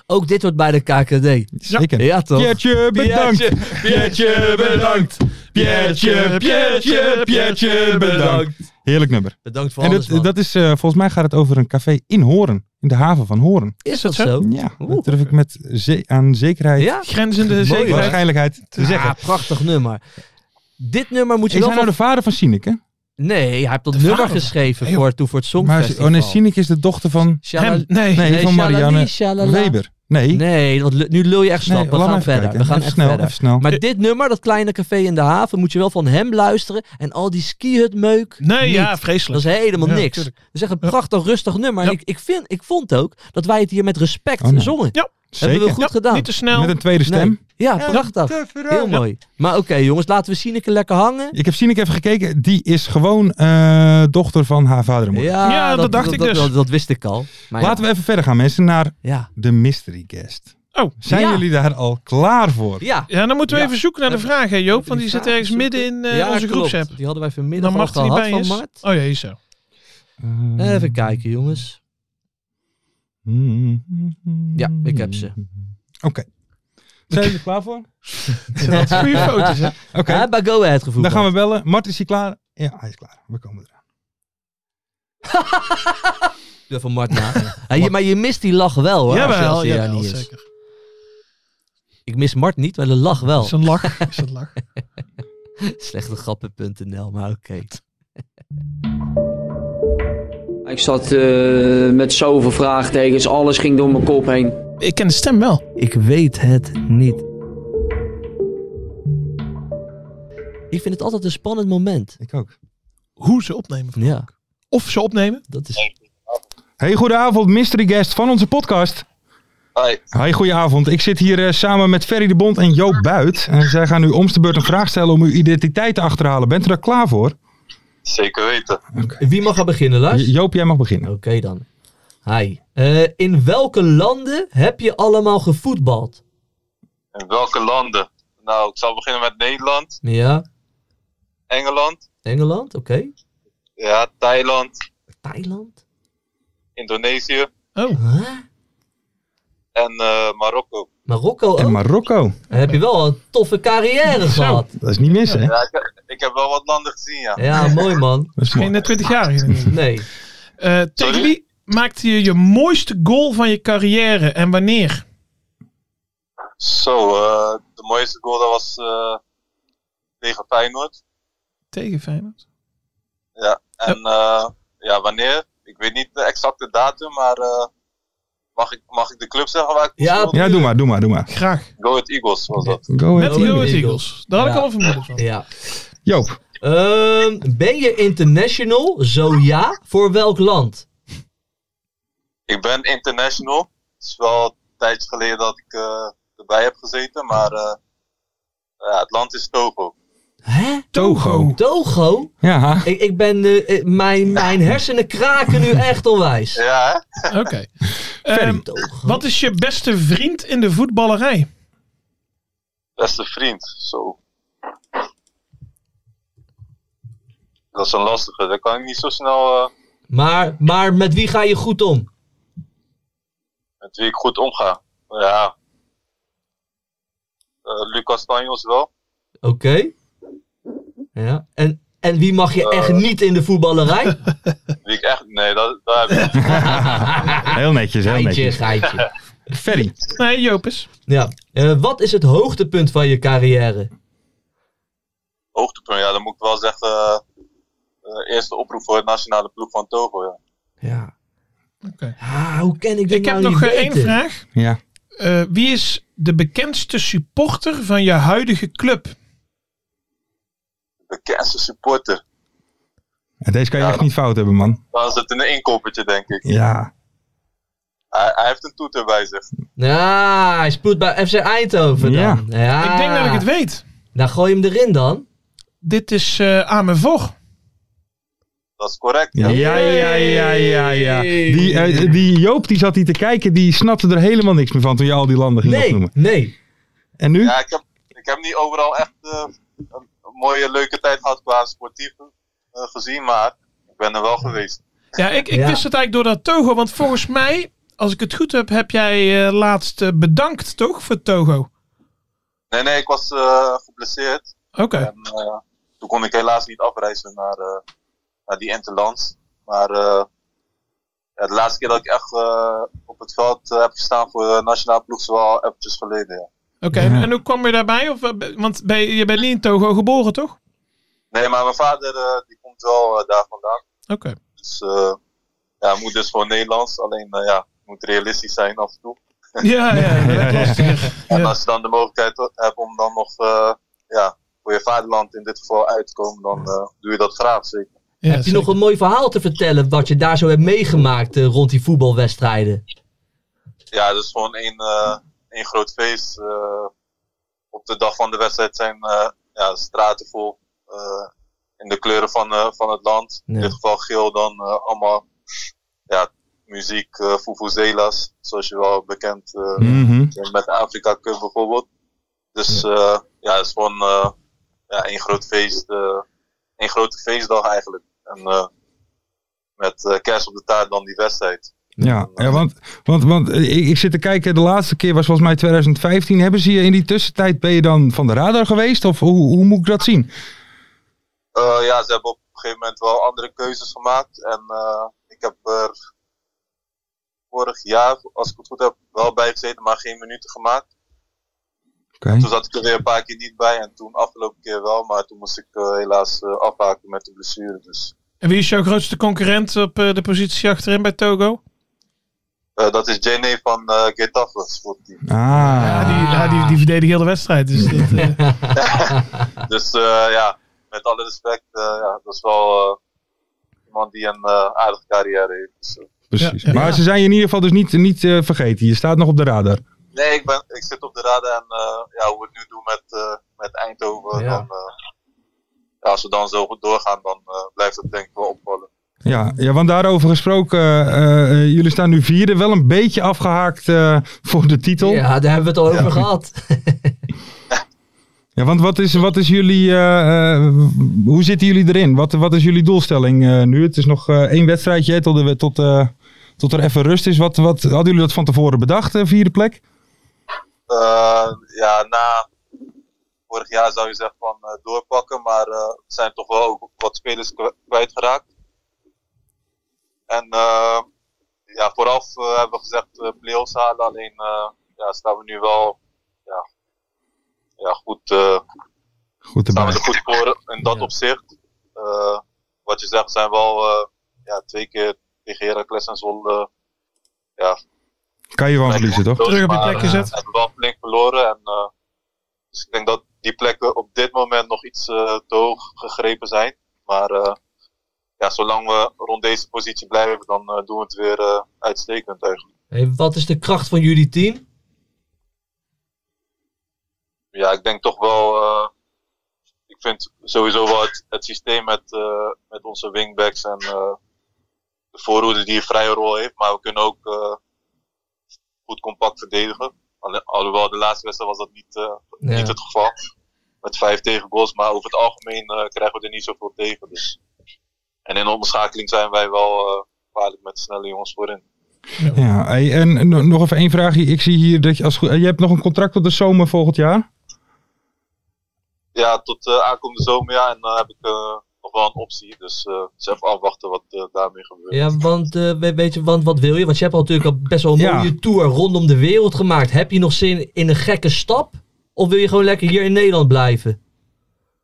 Speaker 6: Ook dit wordt bij de KKD.
Speaker 5: Zeker.
Speaker 6: Ja, toch?
Speaker 5: Piertje, bedankt.
Speaker 7: Pietje bedankt. Pietje, Pietje, Pietje bedankt.
Speaker 5: Heerlijk nummer.
Speaker 6: Bedankt voor
Speaker 5: En
Speaker 6: alles, man.
Speaker 5: dat, dat is, eh, volgens mij gaat het over een café in Hoorn. In de haven van Hoorn.
Speaker 6: is dat
Speaker 7: zo?
Speaker 6: zo?
Speaker 5: Ja,
Speaker 6: Oeh.
Speaker 5: dat durf ik met ze aan zekerheid,
Speaker 6: Ja?
Speaker 7: Grenzende
Speaker 6: Mooi,
Speaker 7: zekerheid.
Speaker 5: waarschijnlijkheid te zeggen.
Speaker 6: Ja, prachtig nummer. Dit nummer moet
Speaker 5: Is
Speaker 6: je
Speaker 5: hij
Speaker 6: wel...
Speaker 5: nou
Speaker 6: van-
Speaker 5: de vader van Sineke?
Speaker 6: Nee, hij heeft dat nummer
Speaker 7: vader?
Speaker 6: geschreven
Speaker 7: Nee, joh.
Speaker 6: voor, toen voor het
Speaker 5: Maar,
Speaker 6: Songfestival.
Speaker 5: oh nee, Sineke is de dochter van,
Speaker 6: Shalala-
Speaker 7: Hem, nee.
Speaker 5: nee,
Speaker 6: Nee,
Speaker 5: van
Speaker 6: Shalali,
Speaker 5: Marianne
Speaker 6: shalala.
Speaker 5: Weber. Nee,
Speaker 6: Nee, want lu- nu lul je echt
Speaker 5: Nee,
Speaker 6: snel. we
Speaker 5: laat maar
Speaker 6: gaan
Speaker 5: even
Speaker 6: verder.
Speaker 5: kijken.
Speaker 6: We gaan
Speaker 5: Even
Speaker 6: echt
Speaker 5: snel,
Speaker 6: verder.
Speaker 5: even snel.
Speaker 6: Maar dit nummer, dat kleine café in de haven, moet je wel van hem luisteren. En al die skihut meuk.
Speaker 7: Nee,
Speaker 6: niet.
Speaker 7: ja,
Speaker 6: Dat
Speaker 7: vreselijk.
Speaker 6: is helemaal
Speaker 7: Ja,
Speaker 6: niks.
Speaker 7: tuurlijk.
Speaker 6: Dat is echt een prachtig rustig nummer. En
Speaker 7: Ja.
Speaker 6: ik, ik, vind, ik vond ook dat wij het hier met respect
Speaker 5: Oh, nee.
Speaker 6: zongen.
Speaker 7: Ja,
Speaker 6: Hebben we
Speaker 5: zeker.
Speaker 6: goed gedaan.
Speaker 7: Niet te snel.
Speaker 5: Met een tweede stem.
Speaker 6: Nee. Ja, prachtig. Heel
Speaker 7: Ja.
Speaker 6: mooi. Maar oké jongens, laten we Sineke lekker hangen.
Speaker 5: Ik heb Sineke even gekeken. Die is gewoon eh, dochter van haar vader en moeder.
Speaker 6: Ja,
Speaker 7: Ja, dat dacht ik dus.
Speaker 6: Dat, dat wist ik al. Maar
Speaker 5: Laten
Speaker 6: ja.
Speaker 5: we even verder gaan, mensen, naar
Speaker 6: Ja.
Speaker 5: de mystery guest.
Speaker 7: Oh.
Speaker 5: Zijn
Speaker 6: Ja.
Speaker 5: jullie daar al klaar voor?
Speaker 6: ja.
Speaker 7: Ja, dan moeten we
Speaker 6: Ja.
Speaker 7: even zoeken naar de
Speaker 6: Even-
Speaker 7: vraag, hè, Joop. Want
Speaker 6: Even
Speaker 7: die zit
Speaker 6: vraag
Speaker 7: ergens
Speaker 6: zoeken.
Speaker 7: midden in eh,
Speaker 6: Ja,
Speaker 7: onze
Speaker 6: klopt.
Speaker 7: groepsapp.
Speaker 6: Die hadden wij
Speaker 7: Dan
Speaker 6: vanmiddag al
Speaker 7: mag die
Speaker 6: gehad
Speaker 7: bij Oh.
Speaker 6: van
Speaker 7: eens.
Speaker 6: Mart.
Speaker 7: Oh ja, hier zo.
Speaker 5: Eh,
Speaker 6: Even kijken jongens. Ja, ik heb ze.
Speaker 5: Eh, Oké. Zijn jullie er klaar voor?
Speaker 7: Dat zijn goede foto's, hè?
Speaker 5: Oké,
Speaker 6: Ja, bij Go Ahead gevoel.
Speaker 5: dan gaan we bellen. Mart, is hij klaar? Ja, hij is klaar. We komen eraan.
Speaker 6: Van Mart na. Ja, je- maar je mist die lach wel hoor. als je- als
Speaker 7: Jawel,
Speaker 6: hij daar
Speaker 7: jawel,
Speaker 6: niet is.
Speaker 7: zeker.
Speaker 6: Ik mis Mart niet, maar de lach wel.
Speaker 7: Is een lach. Is een lach.
Speaker 6: Slechtegrappen.nl, maar oké.
Speaker 9: Ik zat eh, met zoveel vraagtekens, alles ging door mijn kop heen.
Speaker 7: Ik ken de stem wel.
Speaker 6: Ik weet het niet. Ik vind het altijd een spannend moment.
Speaker 5: Ik ook.
Speaker 7: Hoe ze opnemen.
Speaker 6: Ja,
Speaker 7: Of ze opnemen.
Speaker 6: dat is...
Speaker 5: Hey, goedenavond, mystery guest van onze podcast.
Speaker 8: Hoi.
Speaker 5: Hoi, goedenavond. Ik zit hier eh, samen met Ferry de Bond en Joop Buit. En zij gaan u om de beurt een vraag stellen om uw identiteit te achterhalen. Bent u daar klaar voor?
Speaker 8: Zeker weten.
Speaker 6: Wie mag er beginnen, Lars?
Speaker 5: J- Joop, jij mag
Speaker 6: Oké
Speaker 5: beginnen.
Speaker 6: dan. Hi. Eh, in welke landen heb je allemaal gevoetbald?
Speaker 8: In welke landen? Nou, ik zal beginnen met Nederland,
Speaker 6: Ja,
Speaker 8: Engeland,
Speaker 6: Engeland, oké.
Speaker 8: ja, Thailand,
Speaker 6: Thailand?
Speaker 8: Indonesië
Speaker 7: Oh,
Speaker 6: Huh?
Speaker 8: en eh, Marokko.
Speaker 6: Marokko ook?
Speaker 5: En Marokko.
Speaker 6: Dan heb je wel een toffe carrière gehad.
Speaker 5: Dat is niet mis, hè?
Speaker 8: Ja, ik, ik heb wel wat landen gezien, ja.
Speaker 6: Ja, mooi man.
Speaker 5: Dat is mooi.
Speaker 7: geen eh, 20 jaar. hier.
Speaker 6: Nee.
Speaker 7: Eh, tegen wie maakte je je mooiste goal van je carrière en wanneer?
Speaker 8: Zo, eh, de mooiste goal dat was eh, tegen Feyenoord.
Speaker 7: Tegen Feyenoord.
Speaker 8: En eh, ja, wanneer? Ik weet niet de exacte datum, maar eh, mag, ik, mag ik de club zeggen waar ik
Speaker 6: Ja,
Speaker 8: speelde?
Speaker 5: Ja, doe maar, doe maar, doe maar.
Speaker 7: Graag.
Speaker 8: Go Ahead Eagles was dat.
Speaker 5: Go
Speaker 7: Met
Speaker 5: ahead.
Speaker 7: de
Speaker 6: Go
Speaker 7: Go Ahead
Speaker 6: Eagles.
Speaker 7: Eagles. Daar had ik
Speaker 6: Ja.
Speaker 7: al een vermoeden van.
Speaker 6: Ja.
Speaker 5: Joop.
Speaker 6: Ehm, ben je international? Zo ja. Voor welk land?
Speaker 8: Ik ben international. Het is wel een tijdje geleden dat ik eh, erbij heb gezeten, maar eh, ja, het land is Togo.
Speaker 6: Hè?
Speaker 5: Togo.
Speaker 6: Togo?
Speaker 5: Ja.
Speaker 6: Ik, ik ben, eh, eh, mijn, mijn hersenen kraken nu echt onwijs.
Speaker 8: Ja, hè?
Speaker 7: Oké. Ehm,
Speaker 6: Togo.
Speaker 7: wat is je beste vriend in de voetballerij?
Speaker 8: Beste vriend. Zo. Dat is een lastige. Dat kan ik niet zo snel eh,
Speaker 6: Maar, maar met wie ga je goed om?
Speaker 8: met wie ik goed omga. Maar Ja. Eh, Lucas Tanjos wel.
Speaker 6: Oké. Ja. En, en wie mag je echt niet in de voetballerij?
Speaker 8: Wie ik echt. Nee, dat, daar heb ik niet.
Speaker 5: Heel netjes, heel
Speaker 6: Geitje,
Speaker 5: netjes.
Speaker 6: geitje.
Speaker 5: Ferry.
Speaker 7: Nee, Jopus.
Speaker 6: Ja. Eh, wat is het hoogtepunt van je carrière?
Speaker 8: Hoogtepunt, ja, dan moet ik wel zeggen. eh, eh, eerste oproep voor het nationale ploeg van Togo. Ja.
Speaker 6: Ja.
Speaker 7: Oké.
Speaker 6: Ah, hoe ken ik dit
Speaker 7: Ik
Speaker 6: nou
Speaker 7: heb
Speaker 6: niet
Speaker 7: nog eh, één
Speaker 6: weten?
Speaker 7: vraag.
Speaker 5: Ja.
Speaker 7: Eh, wie is de bekendste supporter van je huidige club?
Speaker 8: Bekendste supporter.
Speaker 5: En Deze kan je
Speaker 8: Ja.
Speaker 5: echt niet fout hebben, man.
Speaker 8: Dan zit in een inkoppertje, denk ik.
Speaker 5: Ja.
Speaker 8: Hij, hij heeft een toeter bij zich.
Speaker 6: Ja, hij spoelt bij FC Eindhoven dan.
Speaker 5: Ja.
Speaker 6: Ja.
Speaker 7: Ik denk dat ik het weet.
Speaker 6: Nou, gooi hem erin dan.
Speaker 7: Dit is eh Amen Vog.
Speaker 8: Dat is correct.
Speaker 5: Ja, ja, ja, ja, ja. ja.
Speaker 6: Hey.
Speaker 5: Die, eh, die Joop die zat hier te kijken, die snapte er helemaal niks meer van toen je al die landen ging
Speaker 6: Nee,
Speaker 5: opnoemen.
Speaker 6: nee.
Speaker 5: En nu?
Speaker 8: Ja, ik heb, ik heb niet overal echt eh, een, een mooie, leuke tijd gehad qua sportief eh, gezien, maar ik ben er wel geweest.
Speaker 7: Ja, ik, ik
Speaker 6: Ja.
Speaker 7: wist het eigenlijk door dat Togo. Want volgens mij, als ik het goed heb, heb jij eh, laatst eh, bedankt toch voor Togo?
Speaker 8: Nee, nee, ik was eh, geblesseerd.
Speaker 7: Oké.
Speaker 8: En, eh, toen kon ik helaas niet afreizen naar, eh, naar die interlands. Maar eh, ja, de laatste keer dat ik echt eh, op het veld eh, heb gestaan voor de nationale ploeg is wel eventjes geleden. Ja.
Speaker 7: Oké, en- en hoe kwam je daarbij? Of, eh, be- want ben, je je bent niet in Togo geboren, toch? Oké.
Speaker 8: Nee, maar mijn vader eh, die komt wel eh, daar vandaan. Dus eh ja, hij moet dus gewoon Nederlands. Alleen eh, ja, het moet realistisch zijn af en toe.
Speaker 7: Ja, ja, dat
Speaker 5: ja.
Speaker 7: werd lastiger.
Speaker 8: En
Speaker 7: Ja.
Speaker 8: als je dan de mogelijkheid hebt om dan nog eh, ja, voor je vaderland in dit geval uit te komen, dan eh, doe je dat graag zeker.
Speaker 7: Ja,
Speaker 6: Heb je
Speaker 7: zeker.
Speaker 6: nog een mooi verhaal te vertellen wat je daar zo hebt meegemaakt eh, rond die voetbalwedstrijden?
Speaker 8: Ja, dat is gewoon één, eh, één groot feest. Eh, op de dag van de wedstrijd zijn eh, ja, de straten vol eh, in de kleuren van, eh, van het land.
Speaker 6: Ja.
Speaker 8: In dit geval geel dan eh, allemaal ja, muziek, eh Fufuzela's, zoals je wel bekend eh,
Speaker 5: Mhm.
Speaker 8: bent met de Afrika Cup bijvoorbeeld. Dus eh, ja, het is gewoon eh, ja, één groot feest, eh één grote feestdag eigenlijk. En eh, met eh, kerst op de taart dan die wedstrijd.
Speaker 5: Ja, ja want, want, want eh, ik, ik zit te kijken, de laatste keer was volgens mij 2015. Hebben ze je in die tussentijd, ben je dan van de radar geweest? Of hoe, hoe moet ik dat zien?
Speaker 8: Eh, ja, ze hebben op een gegeven moment wel andere keuzes gemaakt. En eh, ik heb er vorig jaar, als ik het goed heb, wel bij gezeten, maar geen minuten gemaakt.
Speaker 5: Oké.
Speaker 8: Toen zat ik er weer een paar keer niet bij en toen afgelopen keer wel, maar toen moest ik eh, helaas eh, afhaken met de blessure. Dus
Speaker 7: En wie is jouw grootste concurrent op eh, de positie achterin bij Togo?
Speaker 8: eh, dat is Jenny van eh Getafe Sportteam.
Speaker 5: Ah,
Speaker 7: Ja, die, ja, die, die verdedigt heel de wedstrijd. Dus dat, eh,
Speaker 8: Dus eh, ja, met alle respect, eh, ja, dat is wel eh, iemand die een eh, aardige carrière heeft. Dus, eh,
Speaker 5: precies.
Speaker 7: ja, ja.
Speaker 5: Maar ze zijn je in ieder geval dus niet, niet eh, vergeten. Je staat nog op de radar.
Speaker 8: Nee, ik, ben, ik zit op de radar en eh, ja, hoe we het nu doen met, eh, met Eindhoven.
Speaker 6: Ja.
Speaker 8: Dan, eh, ja, als we dan zo goed doorgaan, dan eh, blijft het denk ik wel opvallen.
Speaker 5: Ja, ja, want daarover gesproken, eh, eh, jullie staan nu vierde, wel een beetje afgehaakt eh, voor de titel. Ja,
Speaker 6: Ja, daar hebben we het al over gehad.
Speaker 5: want wat is, wat is jullie, eh, eh, hoe zitten jullie erin? Wat, wat is jullie doelstelling eh, nu? Het is nog eh, één wedstrijdje hè, tot, de, tot, eh, tot er even rust is. Wat, wat, hadden jullie dat van tevoren bedacht, eh, vierde plek?
Speaker 8: Eh, ja, na vorig jaar zou je zeggen van eh, doorpakken, maar eh, er zijn toch wel ook wat spelers kw- kwijtgeraakt. En eh, ja, vooraf eh, hebben we gezegd eh play-offs halen, alleen eh, ja, staan we nu wel ja, ja, goed, eh,
Speaker 5: Goed
Speaker 8: staan we
Speaker 5: erbij.
Speaker 8: er goed voor in dat
Speaker 6: Ja.
Speaker 8: opzicht. Eh, wat je zegt, zijn wel eh, ja, twee keer tegen Heracles en Zwolle. eh, ja,
Speaker 5: Kan je wel
Speaker 8: gelijk
Speaker 5: verliezen, toch?
Speaker 8: gelopen,
Speaker 7: Terug op je
Speaker 8: maar,
Speaker 7: plek
Speaker 8: eh,
Speaker 7: gezet.
Speaker 8: Hebben wel flink verloren. En, eh, dus ik denk dat die plekken op dit moment nog iets eh, te hoog gegrepen zijn. Maar eh, ja, zolang we rond deze positie blijven, dan eh, doen we het weer eh, uitstekend eigenlijk.
Speaker 6: Hey, wat is de kracht van jullie team?
Speaker 8: ja, ik denk toch wel. eh, ik vind sowieso wel het, het systeem met, eh, met onze wingbacks en eh, de voorhoede die een vrije rol heeft. Maar we kunnen ook eh, goed compact verdedigen. Alle- Alhoewel de laatste wedstrijd was dat niet, eh,
Speaker 6: Ja.
Speaker 8: niet het geval. Met vijf tegen goals, maar over het algemeen eh, krijgen we er niet zoveel tegen. Dus. En in de omschakeling zijn wij wel eh, gevaarlijk met snelle jongens voorin.
Speaker 5: Ja, hey, en no- nog even één vraagje. Ik zie hier dat je, als, goed- eh, je hebt nog een contract tot de zomer volgend jaar.
Speaker 8: Ja, tot eh, aankomende zomer ja, en dan heb ik eh, nog wel een optie. Dus eh dus even afwachten wat eh, daarmee gebeurt.
Speaker 6: Ja, want, eh, we- weet je, want wat wil je? Want je hebt al natuurlijk al best wel een
Speaker 5: Ja.
Speaker 6: mooie tour rondom de wereld gemaakt. Heb je nog zin in een gekke stap? Of wil je gewoon lekker hier in Nederland blijven?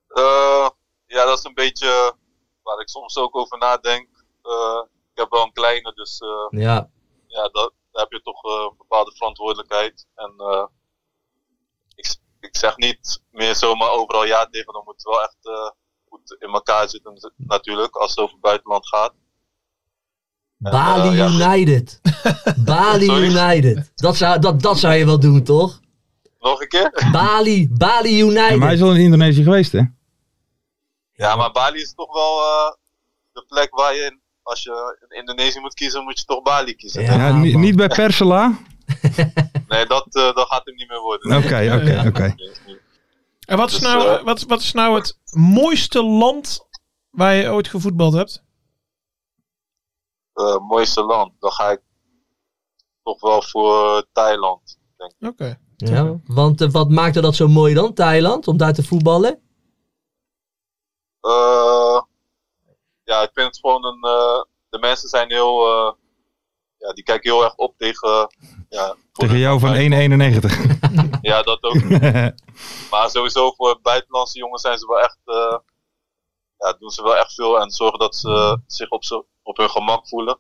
Speaker 8: Eh, ja, dat is een beetje waar ik soms ook over nadenk. Eh, ik heb wel een kleine, dus eh,
Speaker 6: Ja,
Speaker 8: ja, dat, daar heb je toch eh, een bepaalde verantwoordelijkheid. En eh, ik, z- ik zeg niet meer zomaar overal ja tegen, dan moet het wel echt eh, goed in elkaar zitten nat- natuurlijk, als het over het buitenland gaat. En,
Speaker 6: Bali
Speaker 8: eh, ja,
Speaker 6: United. Bali
Speaker 8: Sorry?
Speaker 6: United. Dat zou, dat, dat zou je wel doen, toch?
Speaker 8: Nog een keer?
Speaker 6: Bali, Bali
Speaker 5: En maar hij is
Speaker 6: United.
Speaker 5: al in Indonesië geweest, hè?
Speaker 8: Ja, maar Bali is toch wel eh, de plek waar je, in- als je in Indonesië moet kiezen, moet je toch Bali kiezen.
Speaker 6: Ja.
Speaker 5: Ja, ni-
Speaker 6: man.
Speaker 5: niet bij Persela.
Speaker 8: Nee, dat, eh, dat gaat hem niet meer worden.
Speaker 5: Oké, oké, oké.
Speaker 7: en wat is,
Speaker 8: Dus,
Speaker 7: nou,
Speaker 8: eh,
Speaker 7: wat, wat is nou het mooiste land waar je ooit gevoetbald hebt?
Speaker 8: eh mooiste land, dan ga ik toch wel voor eh, Thailand.
Speaker 7: Oké.
Speaker 6: Ja, want eh, wat maakte dat zo mooi dan, Thailand, om daar te voetballen?
Speaker 8: Eh, ja, ik vind het gewoon een. eh, de mensen zijn heel. eh, ja, die kijken heel erg op tegen. Ja, voor
Speaker 5: Tegen
Speaker 8: de-
Speaker 5: jou van 1,91.
Speaker 8: Ja, dat ook. maar sowieso voor buitenlandse jongens zijn ze wel echt. eh, ja, doen ze wel echt veel en zorgen dat ze eh, zich op, ze, op hun gemak voelen.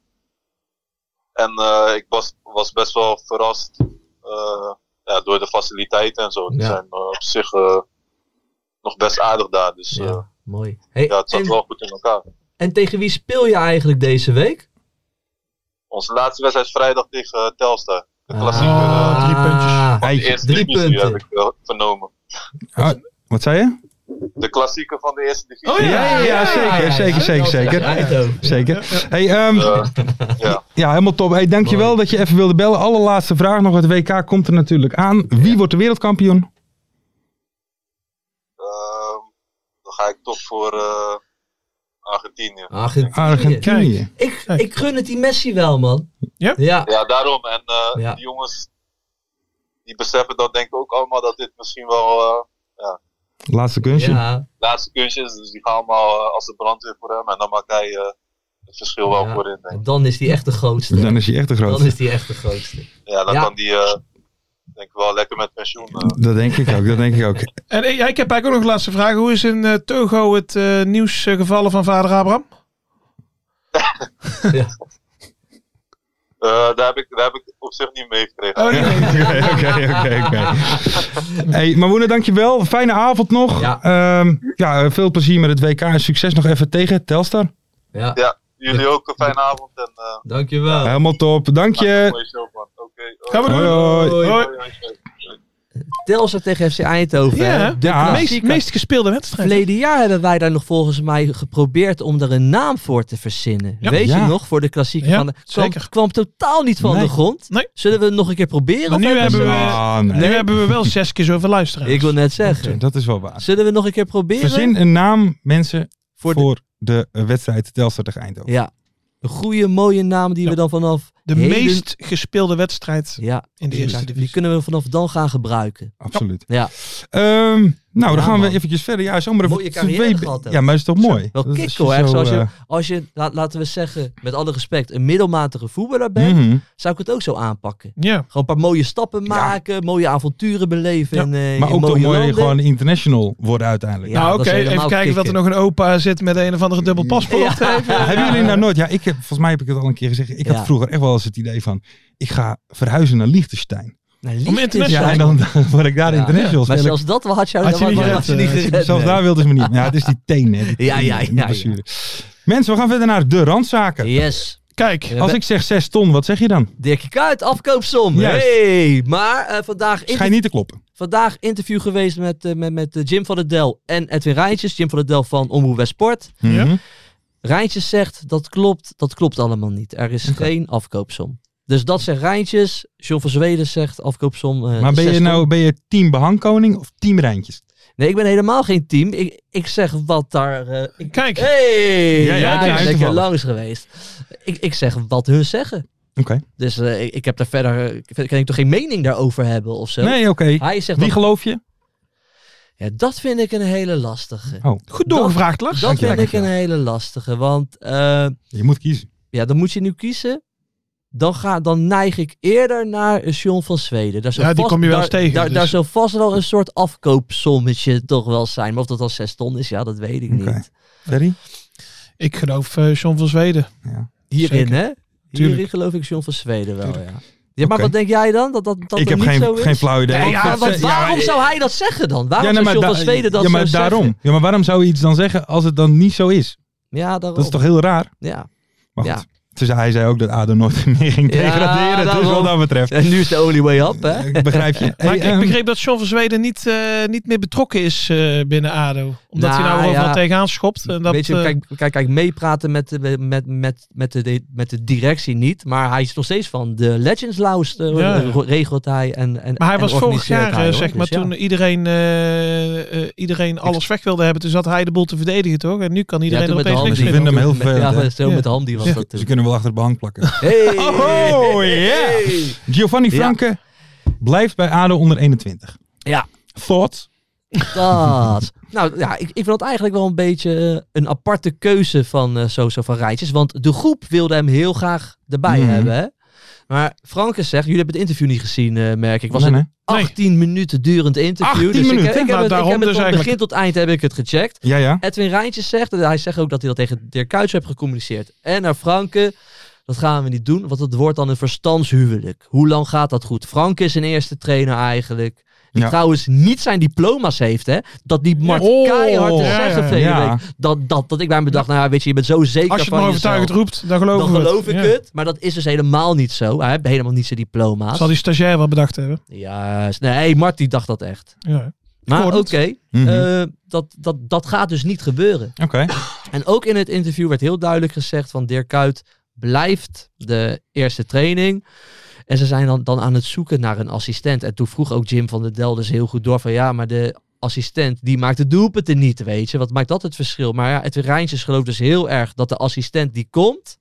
Speaker 8: En eh, ik was, was best wel verrast
Speaker 10: eh, ja, door de faciliteiten en zo. Die
Speaker 6: Ja.
Speaker 10: zijn eh, op zich eh, nog best aardig daar. Dus eh,
Speaker 6: Ja, mooi. Hey,
Speaker 10: ja, het zat
Speaker 6: en,
Speaker 10: wel goed in elkaar.
Speaker 6: en tegen wie speel je eigenlijk deze week?
Speaker 10: Onze laatste wedstrijd vrijdag tegen eh, Telstar. De klassieker. eh,
Speaker 5: Ah,
Speaker 7: Oh, drie puntjes.
Speaker 10: van de
Speaker 5: Eitje.
Speaker 10: eerste
Speaker 6: Ah, drie
Speaker 10: divisie
Speaker 6: punten.
Speaker 10: heb ik wel vernomen.
Speaker 5: Wat zei je?
Speaker 10: De klassieker van de eerste
Speaker 6: Oh,
Speaker 7: Oh
Speaker 10: divisie.
Speaker 5: ja, ja, zeker, zeker, zeker, zeker.
Speaker 6: Eindhoven.
Speaker 5: Zeker. Hey, ehm,
Speaker 10: Eh, ja.
Speaker 5: ja, helemaal top. Hey, dankjewel
Speaker 6: Mooi.
Speaker 5: dat je even wilde bellen. Allerlaatste vraag nog. Het WK komt er natuurlijk aan. Wie wordt de wereldkampioen?
Speaker 10: Ehm, dan ga ik toch voor eh, Argentinië.
Speaker 6: Argentinië.
Speaker 5: Argentinië.
Speaker 6: Ik,
Speaker 7: Kijk.
Speaker 6: ik gun het die Messi wel, man.
Speaker 7: Ja?
Speaker 6: Ja,
Speaker 10: Ja, daarom. En eh,
Speaker 6: Ja.
Speaker 10: die jongens, die beseffen dat denk ik ook allemaal dat dit misschien wel eh
Speaker 5: Laatste kunstje.
Speaker 6: ja.
Speaker 10: laatste kunstje is. Dus die gaan allemaal eh, als de brandweer voor hem. En dan maakt hij eh, het verschil wel
Speaker 6: Ja.
Speaker 10: voorin. Denk ik.
Speaker 6: Dan is die echt de grootste.
Speaker 5: Dan is hij echt de
Speaker 6: Dan
Speaker 5: grootste.
Speaker 6: is die echt de grootste.
Speaker 10: Ja, dan
Speaker 6: Ja.
Speaker 10: kan die eh, denk ik wel lekker met pensioen. eh.
Speaker 5: Dat denk ik ook, dat denk ik ook.
Speaker 7: En eh, ja, ik heb eigenlijk ook nog een laatste vraag. Hoe is in eh, Togo het eh, nieuws eh, gevallen van vader Abraham?
Speaker 10: Eh, daar, heb ik, daar heb ik op zich niet meegekregen.
Speaker 7: Oh, nee, nee.
Speaker 5: Oké, oké, oké, oké. Hey, Mawoene, dankjewel. Fijne avond nog.
Speaker 6: Ja.
Speaker 5: Ehm, ja, eh, veel plezier met het WK en succes nog even tegen Telstar.
Speaker 6: Ja,
Speaker 10: Jullie ook een fijne avond en eh
Speaker 6: dankjewel.
Speaker 5: Helemaal top. Dank
Speaker 10: een
Speaker 5: je.
Speaker 10: mooie show man. Oké. hoi.
Speaker 7: Gaan we doen.
Speaker 5: Hoi, hoi.
Speaker 6: Hoi.
Speaker 7: Hoi.
Speaker 10: Hoi, hoi, hoi.
Speaker 6: Telstar tegen FC Eindhoven.
Speaker 7: Ja,
Speaker 6: hè?
Speaker 7: hè?
Speaker 6: De
Speaker 5: Ja.
Speaker 7: De meest,
Speaker 6: klassieker.
Speaker 7: meest gespeelde wedstrijd.
Speaker 6: Verleden jaar hebben wij daar nog volgens mij geprobeerd om er een naam voor te verzinnen.
Speaker 7: Ja.
Speaker 6: Weet je
Speaker 5: Ja.
Speaker 6: nog? Voor de klassieke
Speaker 7: Ja,
Speaker 6: van de, kwam,
Speaker 7: zeker.
Speaker 6: kwam totaal niet van
Speaker 5: Nee.
Speaker 6: de grond.
Speaker 7: Nee.
Speaker 6: Zullen we het nog een keer proberen?
Speaker 7: Maar
Speaker 6: Of
Speaker 7: nu
Speaker 6: ze-
Speaker 7: hebben we-
Speaker 5: Ah, nee.
Speaker 7: Nu hebben we wel zes keer zoveel luisteraars.
Speaker 6: Ik wil net zeggen.
Speaker 5: Dat is wel waar.
Speaker 6: Zullen we nog een keer proberen?
Speaker 5: Verzin een naam, mensen,
Speaker 6: Voor
Speaker 5: voor,
Speaker 6: de-
Speaker 5: de, eh, wedstrijd Telstar tegen Eindhoven.
Speaker 6: Ja. Een goede, mooie naam die we
Speaker 7: Ja.
Speaker 6: dan vanaf...
Speaker 7: De
Speaker 6: heden-
Speaker 7: meest gespeelde wedstrijd
Speaker 6: Ja,
Speaker 7: in de eerste
Speaker 6: die
Speaker 7: divisie.
Speaker 6: kunnen we vanaf dan gaan gebruiken.
Speaker 5: Absoluut.
Speaker 6: Ja.
Speaker 5: Ehm, nou,
Speaker 6: Ja,
Speaker 5: dan gaan
Speaker 6: man.
Speaker 5: we eventjes verder. Ja, zomaar even
Speaker 6: Mooie carrière
Speaker 5: twee-
Speaker 6: gehad hebben.
Speaker 5: Ja, maar is toch mooi?
Speaker 6: Wel
Speaker 5: Dat is
Speaker 6: kick hoor. hè.
Speaker 5: zo,
Speaker 6: Zoals je,
Speaker 5: eh,
Speaker 6: als je, la- laten we zeggen, met alle respect, een middelmatige voetballer bent,
Speaker 5: mhm.
Speaker 6: zou ik het ook zo aanpakken.
Speaker 7: Ja,
Speaker 6: Gewoon een paar mooie stappen maken, mooie avonturen beleven.
Speaker 7: Ja.
Speaker 6: in, eh,
Speaker 5: Maar
Speaker 6: in
Speaker 5: ook toch
Speaker 6: mooie
Speaker 5: mooi
Speaker 6: landen.
Speaker 5: gewoon international worden uiteindelijk.
Speaker 6: Ja,
Speaker 7: nou
Speaker 6: dat
Speaker 7: oké,
Speaker 6: is
Speaker 7: even
Speaker 6: helemaal
Speaker 7: kijken dat er
Speaker 6: kicken.
Speaker 7: nog een opa zit met een of andere dubbel paspoort.
Speaker 6: Ja.
Speaker 5: Hebben jullie nou nooit... Ja, ik heb, volgens mij heb ik het al een keer gezegd. Ik
Speaker 6: Ja.
Speaker 5: had vroeger echt wel eens het idee van... Ik ga verhuizen naar Liechtenstein.
Speaker 6: Nou,
Speaker 7: Om
Speaker 6: liefde
Speaker 7: internet-
Speaker 6: is
Speaker 5: Ja,
Speaker 6: daar-
Speaker 5: en dan dan word ik daar
Speaker 6: Ja.
Speaker 5: international.
Speaker 6: Maar
Speaker 5: spelen.
Speaker 6: zelfs dat had je,
Speaker 5: Had je
Speaker 6: had
Speaker 5: niet
Speaker 6: je
Speaker 5: gered,
Speaker 6: niet
Speaker 5: eh,
Speaker 6: gered,
Speaker 5: Zelfs
Speaker 6: nee.
Speaker 5: daar wilden ze me niet. Maar Ja, het is die teen. Hè, die
Speaker 6: Ja,
Speaker 5: teen,
Speaker 6: ja,
Speaker 5: die
Speaker 6: ja,
Speaker 5: blessure. Mensen, we gaan verder naar de randzaken.
Speaker 6: Yes.
Speaker 7: Kijk,
Speaker 6: Ja.
Speaker 5: Als ik zeg 6 ton, wat zeg je dan?
Speaker 6: Dirkje Kuyt, afkoopsom.
Speaker 5: Juist.
Speaker 6: Hey, maar eh, vandaag, interv-
Speaker 5: Schijn niet te kloppen.
Speaker 6: vandaag interview geweest met, eh, met, met eh, Jim van der Del en Edwin Rijntjes. Jim van der Del van Omroep Westport.
Speaker 7: Ja.
Speaker 5: Mhm.
Speaker 6: Rijntjes zegt, dat klopt, dat klopt allemaal niet. Er is geen afkoopsom. Dus dat zegt Rijntjes. John van Zweden zegt afkoopsom. eh,
Speaker 5: Maar ben
Speaker 6: zes
Speaker 5: je
Speaker 6: ton.
Speaker 5: nou ben je team behangkoning of team Rijntjes?
Speaker 6: Nee, ik ben helemaal geen team. Ik, ik zeg wat daar... eh, ik-
Speaker 7: kijk.
Speaker 6: Hey,
Speaker 5: Ja, ja,
Speaker 6: ja,
Speaker 5: ik ben
Speaker 6: ik ben een keer
Speaker 5: toevallig.
Speaker 6: langs geweest. Ik, ik zeg wat hun zeggen.
Speaker 5: Oké.
Speaker 6: Dus eh, ik, ik heb daar verder, eh, ver- kan ik toch geen mening daarover hebben of zo?
Speaker 5: Nee, oké.
Speaker 6: Hij zegt
Speaker 5: Wie
Speaker 6: Ah, dat,
Speaker 5: geloof je?
Speaker 6: ja, dat vind ik een hele lastige.
Speaker 5: Oh,
Speaker 7: Goed doorgevraagd, Lars.
Speaker 6: Dat vind
Speaker 5: Dankjewel.
Speaker 6: ik een hele lastige, want eh,
Speaker 5: je moet kiezen.
Speaker 6: ja, dan moet je nu kiezen. Dan, ga, dan neig ik eerder naar een John van Zweden. Daar zou
Speaker 7: Ja, die
Speaker 6: vast-
Speaker 7: kom je wel
Speaker 6: daar,
Speaker 7: eens tegen,
Speaker 6: Daar,
Speaker 7: dus.
Speaker 6: daar zou vast wel een soort afkoopsommetje toch wel zijn. Maar of dat al zes ton is, ja, dat weet ik
Speaker 5: Oké.
Speaker 6: niet.
Speaker 5: Ferry?
Speaker 7: Ik geloof eh John van Zweden.
Speaker 6: Hierin,
Speaker 7: Zeker.
Speaker 6: hè? Hierin
Speaker 7: Tuurlijk.
Speaker 6: geloof ik John van Zweden wel, ja. Ja, maar
Speaker 5: Oké.
Speaker 6: wat denk jij dan? Dat dat, dat
Speaker 5: Ik
Speaker 6: het
Speaker 5: heb
Speaker 6: niet zo
Speaker 5: geen,
Speaker 6: is?
Speaker 5: geen flauw idee.
Speaker 7: Nee, ja,
Speaker 5: Ik-
Speaker 6: Want
Speaker 7: want
Speaker 6: waarom
Speaker 5: maar-
Speaker 6: zou hij dat zeggen dan? Waarom zou
Speaker 5: nee, maar
Speaker 6: John
Speaker 5: da-
Speaker 6: van Zweden dat
Speaker 5: ja, maar
Speaker 6: zo
Speaker 5: daarom.
Speaker 6: zeggen?
Speaker 5: Ja, maar waarom zou je iets dan zeggen als het dan niet zo is?
Speaker 6: Ja, daarom.
Speaker 5: Dat is toch heel raar?
Speaker 6: Ja. Oh.
Speaker 5: Maar
Speaker 6: Ja.
Speaker 5: goed. Dus hij zei ook dat ADO nooit meer ging
Speaker 6: Ja,
Speaker 5: degraderen. dus
Speaker 6: daarom.
Speaker 5: wat dat betreft.
Speaker 6: En nu is de only way up, hè?
Speaker 5: Ik begrijp je.
Speaker 7: Maar
Speaker 5: Hey,
Speaker 7: ik, ik
Speaker 5: ehm,
Speaker 7: begreep dat John van Zweden niet, eh, niet meer betrokken is eh, binnen ADO. Omdat hij
Speaker 6: Nou,
Speaker 7: nou overal
Speaker 6: ja.
Speaker 7: tegenaan schopt. En dat,
Speaker 6: Weet je,
Speaker 7: eh,
Speaker 6: kijk, kijk, kijk meepraten met, de- met, met, met, de, met de directie niet. Maar hij is nog steeds van de Legends Lounge, eh,
Speaker 7: Ja.
Speaker 6: ro- regelt hij. En, en,
Speaker 7: maar hij
Speaker 6: en
Speaker 7: was vorig
Speaker 6: organiseert
Speaker 7: jaar,
Speaker 6: hij,
Speaker 7: eh,
Speaker 6: hoor.
Speaker 7: zeg maar,
Speaker 6: Dus ja.
Speaker 7: toen iedereen, eh, eh, iedereen alles weg wilde hebben. Toen zat hij de boel te verdedigen, toch? En nu kan
Speaker 6: Ja,
Speaker 7: iedereen
Speaker 6: toen
Speaker 7: er
Speaker 6: met de
Speaker 7: opeens
Speaker 6: Hamdi.
Speaker 7: niks meer
Speaker 5: vinden
Speaker 7: van.
Speaker 5: hem heel
Speaker 6: Met-
Speaker 5: vervelend,
Speaker 6: Ja, eh, zo
Speaker 5: hè?
Speaker 6: met de Hamdi was
Speaker 5: ze-
Speaker 6: dat
Speaker 5: ze
Speaker 6: toen.
Speaker 5: kunnen wel achter de behang plakken.
Speaker 6: Hey.
Speaker 5: Oh, yeah.
Speaker 6: Hey.
Speaker 5: Giovanni
Speaker 6: Ja.
Speaker 5: Franke blijft bij ADO onder 21.
Speaker 6: Ja.
Speaker 5: Thoughts?
Speaker 6: Dat. Nou ja, ik, ik vind dat eigenlijk wel een beetje eh, een aparte keuze van eh Soso van Rijtjes. Want de groep wilde hem heel graag erbij
Speaker 5: Mhm.
Speaker 6: hebben. Hè? Maar Franke zegt, jullie hebben het interview niet gezien, eh, merk ik. Was
Speaker 5: Nee,
Speaker 6: een
Speaker 5: nee.
Speaker 6: 18 minuten durend interview.
Speaker 5: 18
Speaker 6: dus ik-
Speaker 5: minuten?
Speaker 6: Ik, heb
Speaker 7: Nou,
Speaker 6: het, ik
Speaker 7: daarom
Speaker 6: heb het
Speaker 7: dus
Speaker 6: van
Speaker 7: eigenlijk.
Speaker 6: begin tot eind heb ik het gecheckt.
Speaker 5: Ja, ja.
Speaker 6: eh, Edwin Rijntjes zegt, en hij zegt ook dat hij dat tegen Dirk Kuyt heeft gecommuniceerd. En naar Franke, Dat gaan we niet doen, want het wordt dan een verstandshuwelijk. Hoe lang gaat dat goed? Frank is een eerste trainer eigenlijk. Die
Speaker 5: Ja.
Speaker 6: trouwens niet zijn diploma's heeft, hè? Dat die Mart
Speaker 7: Oh,
Speaker 6: keihard te
Speaker 7: ja,
Speaker 6: zeggen
Speaker 7: ja,
Speaker 6: verleden
Speaker 5: ja.
Speaker 6: week. Dat, dat, dat ik bij me dacht, nou ja, weet je, je bent zo zeker
Speaker 7: Als je het
Speaker 6: van
Speaker 7: maar
Speaker 6: jezelf.
Speaker 7: overtuigend roept, dan geloof,
Speaker 6: dan geloof ik
Speaker 7: Ja.
Speaker 6: het. Maar dat is dus helemaal niet zo. Hij heeft helemaal niet zijn diploma's.
Speaker 7: Zal die stagiair wel bedacht hebben.
Speaker 6: Juist. Nee, Mart die dacht dat echt.
Speaker 7: Ja.
Speaker 6: Maar
Speaker 7: hoorde
Speaker 6: Nou, oké,
Speaker 7: het.
Speaker 5: Mhm.
Speaker 6: eh, dat, dat, dat gaat dus niet gebeuren.
Speaker 5: Oké.
Speaker 6: En ook in het interview werd heel duidelijk gezegd van Dirk Kuyt blijft de eerste training. En ze zijn dan, dan aan het zoeken naar een assistent. En toen vroeg ook Jim van der Del dus heel goed door van ja, maar de assistent die maakt de doelpunten niet, weet je. Wat maakt dat het verschil? Maar ja, het Rijntjes gelooft dus heel erg dat de assistent die komt,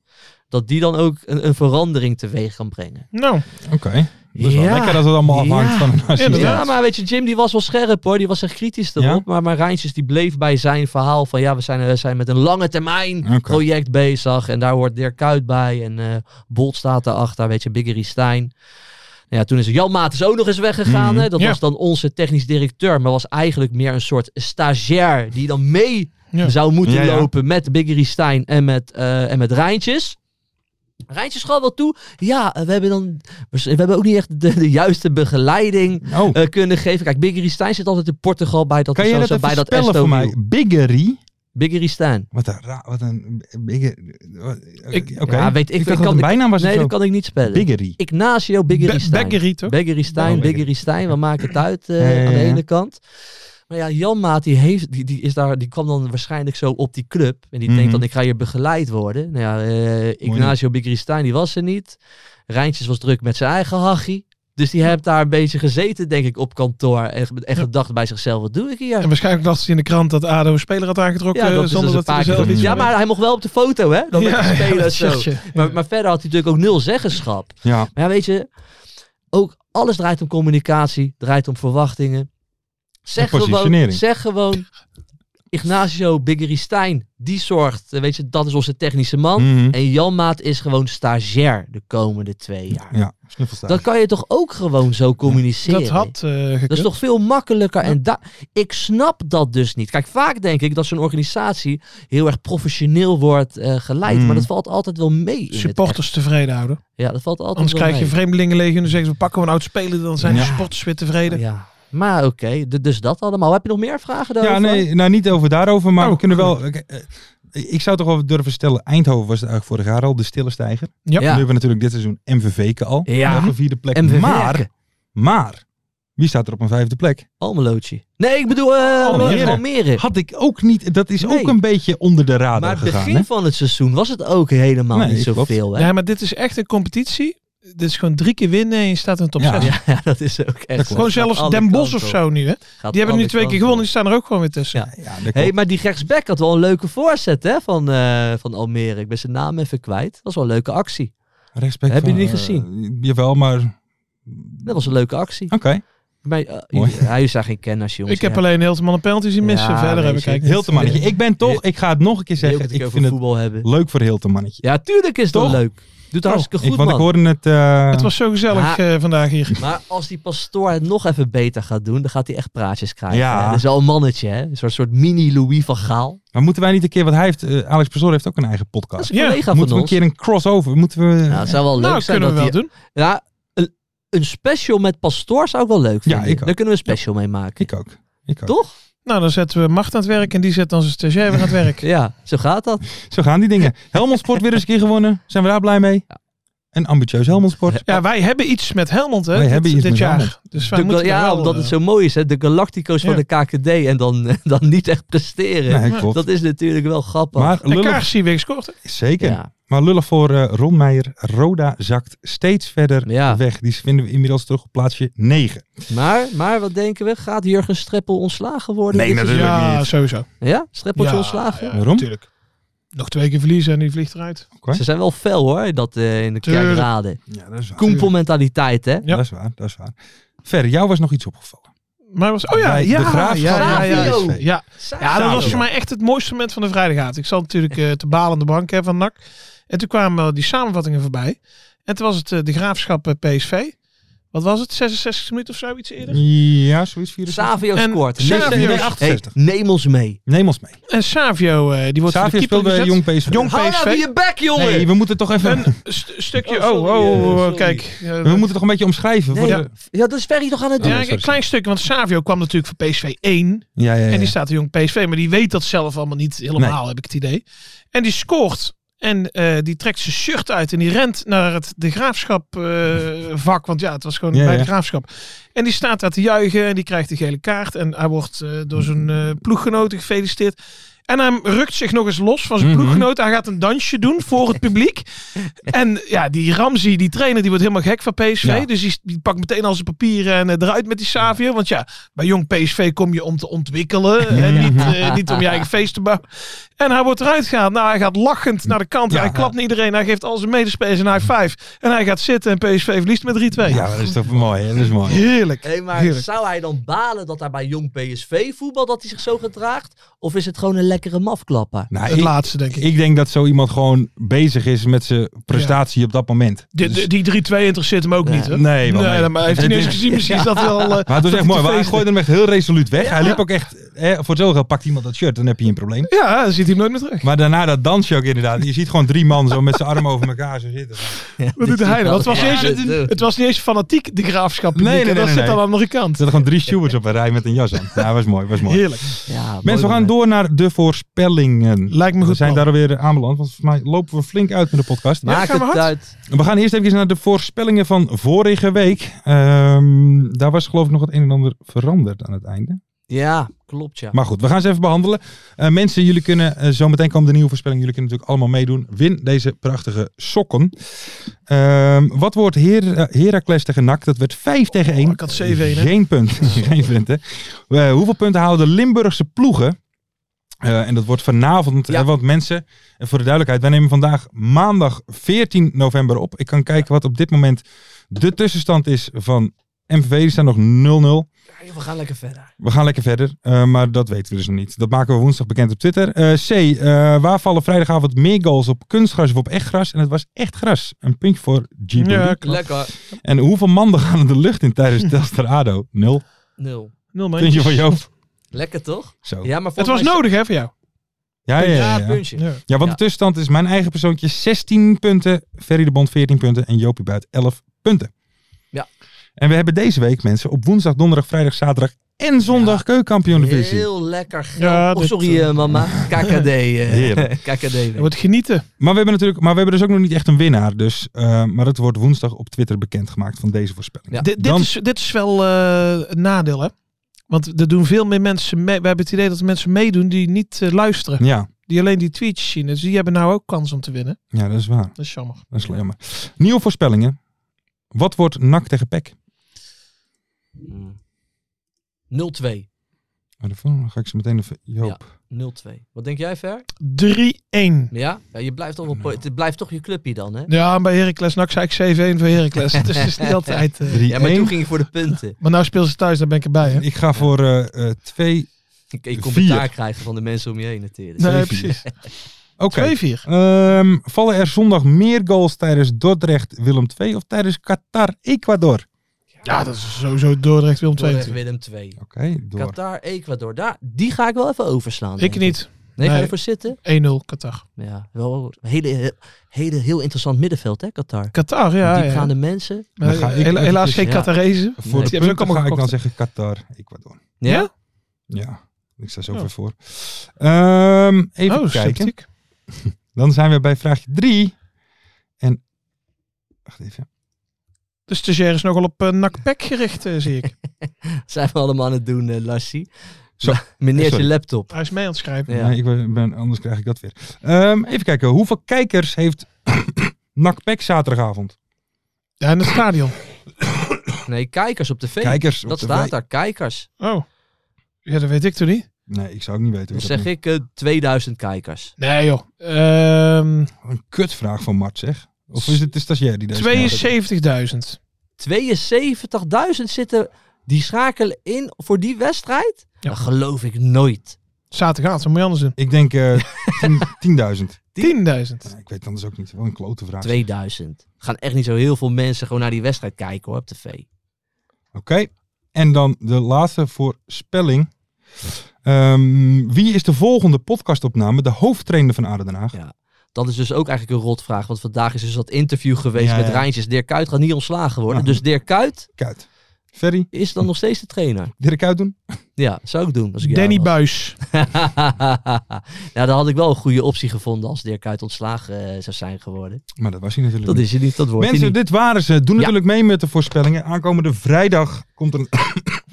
Speaker 6: dat die dan ook een, een verandering teweeg kan brengen.
Speaker 7: Nou,
Speaker 5: Oké. Dus wel
Speaker 6: Ja.
Speaker 5: lekker dat het allemaal afhangt
Speaker 6: Ja.
Speaker 5: van een assistent.
Speaker 7: Inderdaad.
Speaker 6: Ja, maar weet je, Jim die was wel scherp hoor. Die was echt kritisch erop.
Speaker 5: Ja?
Speaker 6: Maar, maar Rijntjes die bleef bij zijn verhaal van ja, we zijn, we zijn met een lange termijn
Speaker 5: Oké.
Speaker 6: project bezig. En daar hoort Dirk Kuyt bij. En eh Bolt staat daarachter, weet je, Biggery Stein. Nou ja, toen is Jan Maat is ook nog eens weggegaan.
Speaker 5: Mhm.
Speaker 6: Hè? Dat
Speaker 7: Ja.
Speaker 6: was dan onze technisch directeur. Maar was eigenlijk meer een soort stagiair die dan mee
Speaker 7: Ja.
Speaker 6: zou moeten
Speaker 5: Ja, ja.
Speaker 6: lopen met Biggery Stein en met, eh en met Rijntjes. Rijntjes gaf wel toe. Ja, eh, we hebben dan. We hebben ook niet echt de, de juiste begeleiding
Speaker 5: Oh,
Speaker 6: eh, kunnen geven. Kijk, Biggery Stein zit altijd in Portugal bij dat,
Speaker 5: kan je
Speaker 6: zo-
Speaker 5: dat
Speaker 6: zo,
Speaker 5: even
Speaker 6: bij dat
Speaker 5: spellen
Speaker 6: Aston
Speaker 5: voor mij?
Speaker 6: Villa.
Speaker 5: Biggery?
Speaker 6: Biggery Stein.
Speaker 5: Wat een raar, wat een bigger...
Speaker 6: Ik-
Speaker 5: Oké.
Speaker 6: ja, weet ik- ik
Speaker 5: dacht dat
Speaker 6: kan-
Speaker 5: het een bijnaam was
Speaker 6: Nee,
Speaker 5: of zo.
Speaker 6: dat kan ik niet spellen.
Speaker 5: Biggery.
Speaker 6: Ignacio Biggery
Speaker 7: Be-
Speaker 6: Stein.
Speaker 7: Beckery toch?
Speaker 6: Biggery Stein,
Speaker 5: Oh,
Speaker 6: Biggery Stein. We maken het uit eh,
Speaker 5: Ja, ja,
Speaker 6: aan de
Speaker 5: ja.
Speaker 6: ene kant. Maar ja, Janmaat die, heeft, die, die, is daar, die kwam dan waarschijnlijk zo op die club. En die denkt
Speaker 5: Mhm.
Speaker 6: dan, ik ga hier begeleid worden. Nou ja, eh, Ignacio Biggery Stein, die was er niet. Rijntjes was druk met zijn eigen hachie. Dus die heeft daar een beetje gezeten, denk ik, op kantoor. En, en gedacht bij zichzelf, wat doe ik hier?
Speaker 7: en waarschijnlijk las hij in de krant dat ADO een speler had aangetrokken
Speaker 6: Ja, dat
Speaker 7: eh,
Speaker 6: is dus
Speaker 7: zonder
Speaker 6: een
Speaker 7: dat hij
Speaker 6: paar
Speaker 7: er
Speaker 6: keer
Speaker 7: zelf
Speaker 6: gebeurd.
Speaker 7: iets
Speaker 6: Ja,
Speaker 7: van
Speaker 6: maar hij mocht wel op de foto, hè? Dan
Speaker 7: Ja,
Speaker 6: met de
Speaker 7: ja,
Speaker 6: spelers
Speaker 7: dat
Speaker 6: zo.
Speaker 7: zeg je.
Speaker 6: Maar, maar verder had hij natuurlijk ook nul zeggenschap.
Speaker 5: Ja.
Speaker 6: Maar ja, weet je, ook alles draait om communicatie, draait om verwachtingen. Zeg
Speaker 5: En
Speaker 6: gewoon,
Speaker 5: positionering.
Speaker 6: zeg gewoon, Ignacio Biggery Stein, die zorgt, eh, weet je, dat is onze technische man.
Speaker 5: Mhm.
Speaker 6: En Jan Maat is gewoon stagiair de komende twee jaar.
Speaker 5: Ja, snuffelstaart.
Speaker 6: Dat kan je toch ook gewoon zo communiceren?
Speaker 7: Dat had eh gekund.
Speaker 6: Dat is toch veel makkelijker. En da- ik snap dat dus niet. Kijk, vaak denk ik dat zo'n organisatie heel erg professioneel wordt eh, geleid.
Speaker 5: Mm.
Speaker 6: Maar dat valt altijd wel mee. In het echt.
Speaker 7: supporters tevreden houden.
Speaker 6: ja, dat valt altijd
Speaker 7: Anders
Speaker 6: wel
Speaker 7: krijg je
Speaker 6: mee.
Speaker 7: vreemdelingenlegioen en dan zeggen ze, we pakken we een oud speler, dan zijn de
Speaker 5: Ja.
Speaker 7: supporters weer tevreden.
Speaker 6: Ja. Maar oké, d- dus dat allemaal. Heb je nog meer vragen daarover?
Speaker 5: Ja, nee, nou niet over daarover, maar
Speaker 7: Oh,
Speaker 5: we kunnen wel... ik- eh, Ik zou toch wel durven stellen, Eindhoven was het eigenlijk vorig jaar al de stille stijger.
Speaker 7: Ja.
Speaker 5: Nu hebben we natuurlijk dit seizoen MVV'ken al.
Speaker 6: Ja.
Speaker 5: Op een vierde plek.
Speaker 6: MVV.
Speaker 5: Maar, maar, wie staat er op een vijfde plek?
Speaker 6: Almelootje. Nee, ik bedoel
Speaker 7: Oh,
Speaker 6: eh, Almere.
Speaker 5: Almere. Had ik ook niet, dat is
Speaker 6: Nee.
Speaker 5: ook een beetje onder de radar
Speaker 6: Maar het
Speaker 5: gegaan.
Speaker 6: begin
Speaker 5: hè?
Speaker 6: van het seizoen was het ook helemaal
Speaker 5: Nee,
Speaker 6: niet
Speaker 5: klopt.
Speaker 6: zoveel. Hè?
Speaker 7: Ja, maar dit is echt een competitie. Dit is gewoon drie keer winnen en je staat in de top
Speaker 5: Ja.
Speaker 7: 6.
Speaker 6: Ja, dat is ook echt. zo.
Speaker 7: Gewoon
Speaker 6: Het gaat
Speaker 7: zelfs
Speaker 6: alle
Speaker 7: Den Bosch of
Speaker 6: kanten
Speaker 7: zo
Speaker 6: op.
Speaker 7: nu. Hè?
Speaker 6: Gaat
Speaker 7: Die hebben nu twee
Speaker 6: alle
Speaker 7: keer
Speaker 6: kanten op.
Speaker 7: gewonnen die staan er ook gewoon weer tussen.
Speaker 6: Ja.
Speaker 5: Ja, dat
Speaker 6: Hé,
Speaker 5: klopt.
Speaker 6: maar die rechtsback had wel een leuke voorzet hè, van, eh, van Almere. Ik ben zijn naam even kwijt. Dat was wel een leuke actie.
Speaker 5: Respect
Speaker 6: Heb je
Speaker 5: van,
Speaker 6: die
Speaker 5: eh,
Speaker 6: gezien?
Speaker 5: jawel, maar... Oké.
Speaker 6: Dat was een leuke actie. Maar, eh,
Speaker 5: Mooi.
Speaker 6: hij is daar geen kennis, jongens.
Speaker 7: Ik heb
Speaker 6: Ja.
Speaker 7: alleen heel veel een penalty zien missen.
Speaker 6: Ja,
Speaker 7: Verder heb
Speaker 6: weet
Speaker 7: ik
Speaker 6: je.
Speaker 7: eigenlijk
Speaker 5: Heel te mannetje. Ik ben toch, ik ga het nog een keer
Speaker 6: Leuk dat
Speaker 5: zeggen,
Speaker 6: we het
Speaker 5: ik
Speaker 6: over
Speaker 5: vind het
Speaker 6: voetbal hebben.
Speaker 5: leuk voor heel te mannetje.
Speaker 6: Ja, tuurlijk is dat
Speaker 5: Toch?
Speaker 6: leuk. Doet hartstikke goed,
Speaker 5: Ik- want
Speaker 6: man.
Speaker 5: ik hoorde het... eh,
Speaker 7: Het was zo gezellig
Speaker 6: Ja.
Speaker 7: eh, vandaag hier.
Speaker 6: Maar als die pastoor het nog even beter gaat doen, dan gaat hij echt praatjes krijgen.
Speaker 5: Ja.
Speaker 6: hè. Dat is wel een mannetje, hè? Een soort, soort mini-Louis van Gaal.
Speaker 5: Maar moeten wij niet een keer, want hij heeft, eh, Alex Pastoor heeft ook een eigen
Speaker 6: Dat is
Speaker 5: podcast.
Speaker 6: een
Speaker 7: Ja,
Speaker 6: collega
Speaker 5: Moeten
Speaker 6: van
Speaker 5: we een
Speaker 6: ons.
Speaker 5: keer een crossover? Moeten we...
Speaker 6: Nou, het zou wel leuk
Speaker 7: Nou,
Speaker 6: zijn
Speaker 7: kunnen we
Speaker 6: dat
Speaker 7: wel
Speaker 6: hij...
Speaker 7: doen.
Speaker 6: Ja, een, een special met pastoor zou ik wel leuk
Speaker 5: Ja,
Speaker 6: vinden.
Speaker 5: ik ook.
Speaker 6: Daar kunnen we een special mee maken.
Speaker 5: Ik ook. Ik ook.
Speaker 6: Toch?
Speaker 7: Nou, dan zetten we Macht aan het werk en die zet dan zijn stagiair weer aan het werk.
Speaker 6: Ja, zo gaat dat.
Speaker 5: Zo gaan die dingen. Helmond Sport weer eens een keer gewonnen. Zijn we daar blij mee? Een ambitieus Helmond Sport.
Speaker 7: Ja, wij hebben iets met Helmond hè,
Speaker 5: Wij
Speaker 7: dit,
Speaker 5: hebben iets
Speaker 7: dit
Speaker 5: met
Speaker 7: jaar.
Speaker 5: Helmond.
Speaker 7: Dus wij
Speaker 6: De,
Speaker 7: moeten
Speaker 6: ja,
Speaker 7: er wel,
Speaker 6: omdat het
Speaker 7: eh,
Speaker 6: zo mooi is, hè? De Galactico's van
Speaker 7: ja.
Speaker 6: de KKD en dan, eh, dan niet echt presteren.
Speaker 5: Nee, klopt.
Speaker 6: dat is natuurlijk wel grappig.
Speaker 5: Maar
Speaker 7: En
Speaker 5: lullig,
Speaker 7: Kaars zie weer gescoord. hè.
Speaker 5: zeker.
Speaker 6: Ja.
Speaker 5: Maar lullig voor eh, Ron Meijer. Roda zakt steeds verder
Speaker 6: Ja.
Speaker 5: weg. Die vinden we inmiddels terug op plaatsje 9.
Speaker 6: Maar, maar wat denken we? Gaat Jurgen Streppel ontslagen worden? dit seizoen?
Speaker 7: ja, sowieso.
Speaker 6: Ja? Streppeltje
Speaker 7: Ja,
Speaker 6: ontslagen?
Speaker 7: ja,
Speaker 5: Waarom?
Speaker 7: Tuurlijk. Nog twee keer verliezen en die vliegt eruit.
Speaker 5: Hè?
Speaker 6: Ze zijn wel fel hoor, dat eh, in de
Speaker 7: Tuurlijk.
Speaker 6: kerkraden.
Speaker 5: Ja, dat is waar.
Speaker 6: Koempelmentaliteit hè?
Speaker 7: Ja.
Speaker 5: Dat is waar. Dat is waar. Ver, jou was nog iets opgevallen.
Speaker 7: Maar was, oh ja,
Speaker 5: Bij
Speaker 7: ja,
Speaker 5: de Graaf
Speaker 7: ja, ja, ja,
Speaker 6: Savio.
Speaker 7: ja, ja. Ja, dat was
Speaker 5: Savio.
Speaker 7: voor mij echt het mooiste moment van de vrijdagavond. Ik zat natuurlijk eh, te balen aan de bank hè, van NAC. En toen kwamen eh, die samenvattingen voorbij. En toen was het eh, de graafschap eh, PSV. Wat was het? 66 minuten of zoiets eerder?
Speaker 5: Mm. Ja, zoiets. 64.
Speaker 6: Savio
Speaker 7: En
Speaker 6: scoort.
Speaker 7: Savio-
Speaker 6: Nee,
Speaker 7: Nee,
Speaker 6: hey,
Speaker 5: 68.
Speaker 6: neem ons mee.
Speaker 5: Neem ons mee.
Speaker 7: En Savio, eh, die wordt voor de
Speaker 5: Savio
Speaker 7: keeper
Speaker 5: speelt bij
Speaker 7: gezet.
Speaker 5: Jong PSV.
Speaker 7: Jong
Speaker 6: Hou nou
Speaker 7: PSV.
Speaker 6: je bek, jongen!
Speaker 5: Nee, we moeten toch even...
Speaker 7: Een st- stukje,
Speaker 6: Oh,
Speaker 7: oh,
Speaker 6: sorry,
Speaker 7: oh,
Speaker 6: eh,
Speaker 7: oh,
Speaker 6: sorry.
Speaker 7: kijk. eh,
Speaker 5: We moeten toch een beetje omschrijven.
Speaker 6: Nee,
Speaker 5: voor
Speaker 6: ja.
Speaker 5: de-
Speaker 6: Ja, dat is Ferry toch aan het doen.
Speaker 7: ja, een klein stukje, want Savio kwam natuurlijk voor PSV 1.
Speaker 5: ja, ja, ja.
Speaker 7: En die staat de jong PSV, maar die weet dat zelf allemaal niet helemaal, heb ik het idee. En die scoort. En eh, die trekt zijn shirt uit en die rent naar het de graafschap eh, vak. Want ja, het was gewoon
Speaker 5: Ja,
Speaker 7: bij
Speaker 5: ja.
Speaker 7: de graafschap. En die staat daar te juichen en die krijgt de gele kaart. En hij wordt eh, door zijn eh, ploeggenoten gefeliciteerd. En hij rukt zich nog eens los van zijn
Speaker 5: Mhm.
Speaker 7: ploeggenoot. Hij gaat een dansje doen voor het publiek. En ja, die Ramzi, die trainer, die wordt helemaal gek van PSV.
Speaker 5: Ja.
Speaker 7: Dus die, die pakt meteen al zijn papieren en eh, eruit met die Savio. Want ja, bij jong PSV kom je om te ontwikkelen. En niet, eh, niet om je eigen feest te bouwen. En hij wordt eruit gehaald. Nou, hij gaat lachend naar de kant.
Speaker 5: Ja.
Speaker 7: Hij klapt naar iedereen. Hij geeft al zijn medespelers een high five. En hij gaat zitten en PSV verliest met 3-2.
Speaker 5: Ja, dat is toch mooi. hè? Dat is mooi.
Speaker 7: Heerlijk.
Speaker 6: Hé, maar
Speaker 7: Heerlijk.
Speaker 6: zou hij dan balen dat hij bij jong PSV voetbal dat hij zich zo gedraagt? Of is het gewoon een lekkere mafklapper?
Speaker 5: Nou,
Speaker 7: Het
Speaker 5: ik,
Speaker 7: laatste, denk ik.
Speaker 5: ik denk dat zo iemand gewoon bezig is met zijn prestatie op dat moment.
Speaker 7: Die-
Speaker 5: Dus-
Speaker 7: die die 3-2 interesseert hem ook
Speaker 6: Nee.
Speaker 7: niet. Hè?
Speaker 5: Nee, want nee.
Speaker 7: nee, maar heeft hij
Speaker 5: Het
Speaker 7: niet eens
Speaker 5: is-
Speaker 7: gezien? Misschien is dat wel... eh,
Speaker 5: Maar het was
Speaker 7: hij
Speaker 5: echt mooi.
Speaker 7: te
Speaker 5: want Hij
Speaker 7: feesten.
Speaker 5: gooide hem echt heel resoluut weg. Hij liep ook echt... Hè, voor hetzelfde geld pakt iemand dat shirt, dan heb je een probleem.
Speaker 7: Ja, dan ziet hij hem nooit meer terug.
Speaker 5: Maar daarna dat dansje ook inderdaad. Je ziet gewoon drie man zo met zijn armen over elkaar zo zitten.
Speaker 7: Wat doet hij dan? Want het was,
Speaker 6: Ja,
Speaker 7: niet eens,
Speaker 6: dit, eh.
Speaker 7: het was niet eens fanatiek, de graafschap.
Speaker 5: Nee, nee, nee,
Speaker 7: Dat
Speaker 5: nee,
Speaker 7: zit
Speaker 5: nee.
Speaker 7: aan de andere kant.
Speaker 5: Er zaten gewoon drie stewards op een rij met een jas aan. Ja, was mooi, was mooi.
Speaker 7: Heerlijk.
Speaker 6: Ja, mooi
Speaker 5: Mensen, we gaan
Speaker 6: moment.
Speaker 5: door naar de voorspellingen.
Speaker 7: Lijkt me
Speaker 5: We
Speaker 7: goed.
Speaker 5: zijn
Speaker 7: plan.
Speaker 5: daar alweer eh, aanbeland, want volgens mij lopen we flink uit met de podcast.
Speaker 7: Ja,
Speaker 6: Maak
Speaker 7: ga maar
Speaker 6: het
Speaker 7: hard.
Speaker 6: uit.
Speaker 5: We gaan eerst even naar de voorspellingen van vorige week. Ehm, daar was geloof ik nog het een en ander veranderd aan het einde.
Speaker 6: Ja, klopt ja.
Speaker 5: Maar goed, we gaan ze even behandelen. Eh, mensen, jullie kunnen eh, zo meteen komen de nieuwe voorspellingen. Jullie kunnen natuurlijk allemaal meedoen. Win deze prachtige sokken. Ehm, wat wordt Her eh, Heracles tegen NAC? Dat werd 5 tegen 1.
Speaker 7: Oh, ik had 7-1, hè?
Speaker 5: Geen punt. Geen punt hè? Eh, hoeveel punten houden de Limburgse ploegen? Eh, en dat wordt vanavond,
Speaker 6: Ja.
Speaker 5: eh, want mensen, en voor de duidelijkheid, wij nemen vandaag maandag 14 november op. Ik kan kijken wat op dit moment de tussenstand is van MVV. Die staan nog 0-0.
Speaker 6: Ja, We gaan lekker verder.
Speaker 5: We gaan lekker verder, eh, maar dat weten we dus nog niet. Dat maken we woensdag bekend op Twitter. Eh, C, eh, waar vallen vrijdagavond meer goals op kunstgras of op echt gras? En het was echt gras. Een puntje voor G.
Speaker 7: Ja,
Speaker 5: Booty.
Speaker 7: klopt.
Speaker 6: Lekker.
Speaker 5: En hoeveel mannen gaan de lucht in tijdens Telstar ADO? Nul.
Speaker 6: Nul.
Speaker 7: Nul muntjes.
Speaker 5: Puntje voor Joop.
Speaker 6: Lekker toch?
Speaker 5: Zo. Ja,
Speaker 6: Ja, maar
Speaker 7: Het
Speaker 6: volgens
Speaker 7: was
Speaker 6: mij-
Speaker 7: nodig, hè, voor jou.
Speaker 5: ja, ja. ja,
Speaker 6: Ja, puntje.
Speaker 7: Ja.
Speaker 5: Ja,
Speaker 6: Ja.
Speaker 5: want de tussenstand is mijn eigen persoontje 16 punten, Ferry de Bond 14 punten en Jopie Buit 11 punten.
Speaker 6: Ja.
Speaker 5: En we hebben deze week, mensen, op woensdag, donderdag, vrijdag, zaterdag en zondag
Speaker 6: Ja.
Speaker 5: keukenkampioen divisie.
Speaker 6: Heel lekker geld.
Speaker 7: Ja,
Speaker 6: oh,
Speaker 7: dit,
Speaker 6: sorry eh, mama. KKD. eh,
Speaker 5: Heerlijk.
Speaker 6: KKD.
Speaker 7: Je wordt genieten.
Speaker 5: Maar we hebben natuurlijk, maar we hebben dus ook nog niet echt een winnaar. Dus, eh, maar dat wordt woensdag op Twitter bekendgemaakt van deze voorspelling.
Speaker 6: Ja.
Speaker 7: Dit- dit,
Speaker 5: Dan-
Speaker 7: is, dit is wel eh, een nadeel, hè? Want er doen veel meer mensen mee. We hebben het idee dat er mensen meedoen die niet eh, luisteren.
Speaker 5: Ja,
Speaker 7: Die alleen die tweetjes zien. Dus die hebben nou ook kans om te winnen.
Speaker 5: ja, dat is waar.
Speaker 7: Dat is jammer.
Speaker 5: Dat is wel jammer. Nieuwe voorspellingen. Wat wordt NAC tegen PEC?
Speaker 6: Mm. 0-2.
Speaker 5: Maar daarvoor ga ik ze meteen even... Joop.
Speaker 6: 0-2. Wat denk jij, Ver?
Speaker 7: 3-1.
Speaker 6: Ja? ja je blijft toch wel po- het blijft toch je clubje dan, hè?
Speaker 7: Ja, en bij Heracles NAC zei ik 7-1 voor Heracles. dus het is niet altijd... eh,
Speaker 5: 3-1.
Speaker 6: Ja, maar toen ging ik voor de punten.
Speaker 7: Maar nou speel ze thuis, daar ben ik erbij, hè?
Speaker 5: Ik ga voor eh, eh, 2
Speaker 6: Ik, ik
Speaker 5: Vier.
Speaker 6: commentaar krijgen van de mensen om je heen natuurlijk.
Speaker 7: Nee,
Speaker 5: Twee,
Speaker 7: precies.
Speaker 5: Oké.
Speaker 7: 2-4.
Speaker 5: Ehm, vallen er zondag meer goals tijdens Dordrecht Willem II of tijdens Qatar Ecuador?
Speaker 7: Ja, dat is sowieso Dordrecht Willem 2
Speaker 6: Dordrecht,
Speaker 7: natuurlijk.
Speaker 6: Willem 2.
Speaker 5: Oké, door.
Speaker 6: Qatar, Ecuador. Daar, die ga ik wel even overslaan. denk
Speaker 7: Ik niet.
Speaker 6: Nee, ga je
Speaker 7: Nee.
Speaker 6: ervoor zitten?
Speaker 7: 1-0 Qatar.
Speaker 6: Ja, wel een hele, hele, heel interessant middenveld, hè, Qatar.
Speaker 7: Qatar, ja. ja.
Speaker 6: Diepgaande mensen.
Speaker 7: Maar
Speaker 5: Dan ga ik
Speaker 7: hela- helaas
Speaker 5: eventjes-
Speaker 7: geen
Speaker 6: Ja.
Speaker 7: Qatarezen.
Speaker 5: Voor
Speaker 6: Nee.
Speaker 5: de
Speaker 7: Die hebben ze ook
Speaker 5: punten
Speaker 7: allemaal
Speaker 5: ga ik dan
Speaker 7: gekocht.
Speaker 5: zeggen Qatar Ecuador.
Speaker 6: Ja?
Speaker 7: Ja?
Speaker 5: Ja, ik sta zoveel
Speaker 7: Oh.
Speaker 5: voor. Ehm, even
Speaker 7: Oh,
Speaker 5: kijken.
Speaker 7: sympathiek.
Speaker 5: Dan zijn we bij vraagje 3. En. Wacht even.
Speaker 7: De stagiair is nogal op uh, nakpek gericht, eh, zie ik.
Speaker 6: Zijn we allemaal aan het doen, eh, Lassie.
Speaker 5: Zo.
Speaker 6: Maar- Meneer,
Speaker 5: Sorry.
Speaker 6: je laptop.
Speaker 7: Hij is mee aan het schrijven.
Speaker 6: Ja.
Speaker 5: Nee, ik ben- ben, anders krijg ik dat weer. Ehm, even kijken. Hoeveel kijkers heeft NACPEC zaterdagavond?
Speaker 7: Ja, in het stadion.
Speaker 6: Nee, kijkers op tv.
Speaker 5: Kijkers. op
Speaker 6: dat
Speaker 5: de
Speaker 6: staat
Speaker 5: we-
Speaker 6: daar, kijkers.
Speaker 7: Oh. Ja, dat weet ik toch niet?
Speaker 5: Nee, ik zou ook niet weten.
Speaker 6: Dan
Speaker 5: hoe
Speaker 6: zeg
Speaker 5: dat
Speaker 6: ik eh, 2000 kijkers.
Speaker 7: Nee, joh. Ehm,
Speaker 5: moet. Een kutvraag van Mart, zeg. Of is nou- het de stagiair die deze vraag heeft?
Speaker 7: 72.000.
Speaker 6: 72.000 zitten, die schakelen in voor die wedstrijd? Dat geloof ik nooit.
Speaker 7: Zaterdagavond, dat moet je anders doen.
Speaker 5: Ik denk eh, 10 10.000.
Speaker 7: 10.000.
Speaker 5: Ja, ik weet het anders ook niet. Wat een klote vraag.
Speaker 6: 2000. Gaan echt niet zo heel veel mensen gewoon naar die wedstrijd kijken hoor, op tv.
Speaker 5: En dan de laatste voorspelling. Ehm, wie is de volgende podcastopname de hoofdtrainer van ADO Den Haag?
Speaker 11: Ja. Dat is dus ook eigenlijk een rotvraag. Want vandaag is dus dat interview geweest
Speaker 5: Ja,
Speaker 11: met
Speaker 5: ja.
Speaker 11: Rijntjes. Dirk Kuyt gaat niet ontslagen worden.
Speaker 5: Ja.
Speaker 11: Dus Dirk Kuyt
Speaker 5: Kuit. Ferry,
Speaker 11: is dan nog steeds de trainer.
Speaker 5: Dirk Kuit doen?
Speaker 11: Ja, zou ik doen. Als ik jou
Speaker 7: Danny
Speaker 11: was.
Speaker 7: Buis.
Speaker 11: ja, dan had ik wel een goede optie gevonden als Dirk Kuyt ontslagen eh, zou zijn geworden.
Speaker 5: Maar dat was hij natuurlijk
Speaker 11: Dat
Speaker 5: niet.
Speaker 11: is je niet, dat wordt
Speaker 5: Mensen,
Speaker 11: hij niet.
Speaker 5: dit waren ze. Doe
Speaker 11: Ja.
Speaker 5: natuurlijk mee met de voorspellingen. Aankomende vrijdag komt er een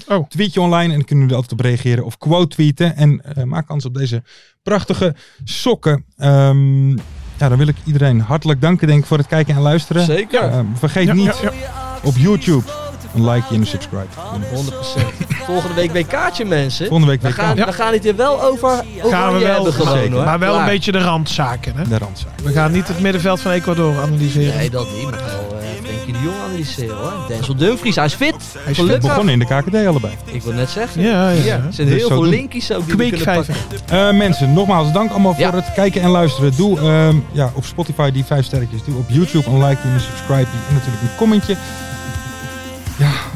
Speaker 7: Oh.
Speaker 5: tweetje online. En dan kunnen jullie altijd op reageren of quote tweeten. En eh, maak kans op deze prachtige sokken. Ehm, ja, dan wil ik iedereen hartelijk danken denk ik, voor het kijken en luisteren.
Speaker 11: Zeker.
Speaker 5: Ehm, vergeet
Speaker 7: dus, eh, Ja,
Speaker 5: niet
Speaker 7: ja,
Speaker 5: op YouTube een like en een subscribe.
Speaker 11: 100%. Volgende week WK'tje, mensen.
Speaker 5: Volgende week
Speaker 11: We
Speaker 5: weer
Speaker 11: gaan,
Speaker 5: gaan.
Speaker 7: Ja.
Speaker 11: we gaan het hier wel over, over
Speaker 7: Gaan we
Speaker 11: je
Speaker 7: wel.
Speaker 11: hebben gewoon,
Speaker 5: Zeker.
Speaker 11: hoor.
Speaker 7: Maar wel een
Speaker 11: Klaar.
Speaker 7: beetje de randzaken. Hè?
Speaker 5: De randzaak.
Speaker 7: We gaan niet het middenveld van Ecuador analyseren.
Speaker 11: Nee, dat niet. Maar wel eh Frenkie de Jong analyseren, hoor. Denzel Dumfries, hij is fit.
Speaker 7: Hij is
Speaker 5: We
Speaker 11: Gelukkig.
Speaker 5: begonnen in de KKD allebei.
Speaker 11: Ik wil net zeggen.
Speaker 7: Ja, ja.
Speaker 11: Ja,
Speaker 7: ja.
Speaker 11: er zijn
Speaker 5: Dus
Speaker 11: heel
Speaker 5: zo
Speaker 11: veel
Speaker 5: doen.
Speaker 11: linkjes ook die we kunnen
Speaker 7: Kweekvijver.
Speaker 11: pakken.
Speaker 5: Eh, mensen, nogmaals dank allemaal
Speaker 11: Ja.
Speaker 5: voor het kijken en luisteren. Doe ehm, ja, op Spotify die vijf sterretjes. Doe op YouTube een like en een subscribe. En natuurlijk een commentje.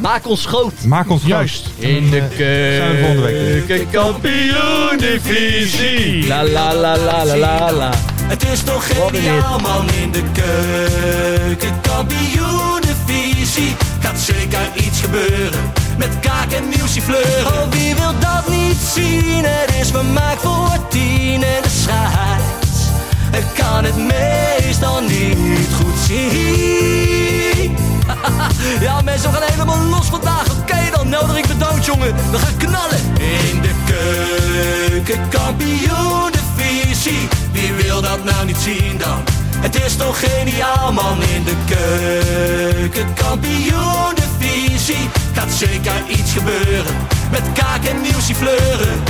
Speaker 11: Maak ons groot. Eh,
Speaker 5: Maak ons
Speaker 7: Juist.
Speaker 11: In de
Speaker 5: Zijn we volgende week weer.
Speaker 11: keukenkampioen divisie. La la la la la la la.
Speaker 6: Het is toch
Speaker 11: Wat een
Speaker 6: geniaal man in de keuken Kampioenenvisie Gaat zeker iets gebeuren Met kaak en muziek fleuren Oh wie wil dat niet zien Het is vermaakt voor tien en de scheids Ik kan het meestal niet goed zien ja, mensen, we gaan helemaal los vandaag. Oké dan, nodig ik bedankt, jongen. We gaan knallen. In de keuken, kampioen, de visie. Wie wil dat nou niet zien dan? Het is toch geniaal, man. In de keuken, kampioen, de visie. Gaat zeker iets gebeuren. Met kaak en nieuwsie fleuren.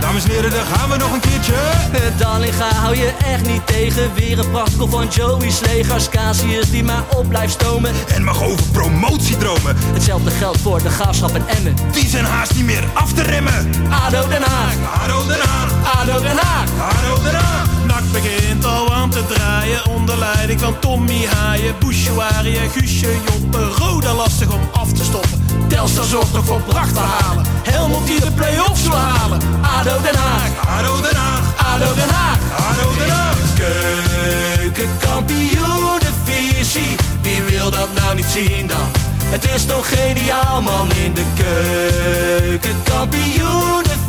Speaker 1: Dames en heren, daar gaan we nog een keertje.
Speaker 6: Eh, Dallinga hou je echt niet tegen. Weer een prachtkel van Joey Slegers. Casius die maar op blijft stomen.
Speaker 1: En mag over promotie dromen.
Speaker 6: Hetzelfde geldt voor de graafschap en Emmen.
Speaker 1: Die zijn haast niet meer af te remmen.
Speaker 6: ADO Den Haag,
Speaker 1: Haro eraan,
Speaker 6: ADO Den Haag.
Speaker 1: haro eraan.
Speaker 7: Nak begint al aan te draaien onder leiding van Tommy Haaien, Bouchouari en Guusje Joppen. Roda lastig om af te stoppen.
Speaker 6: Telstar zorgt nog voor pracht te halen. Helmond die de play-offs wil halen. ADO Den Haag,
Speaker 1: Haro eraan,
Speaker 6: ADO Den Haag.
Speaker 1: haro eraan.
Speaker 6: Keukenkampioen de visie. Wie wil dat nou niet zien dan? Het is toch geniaal man in de keukenkampioen de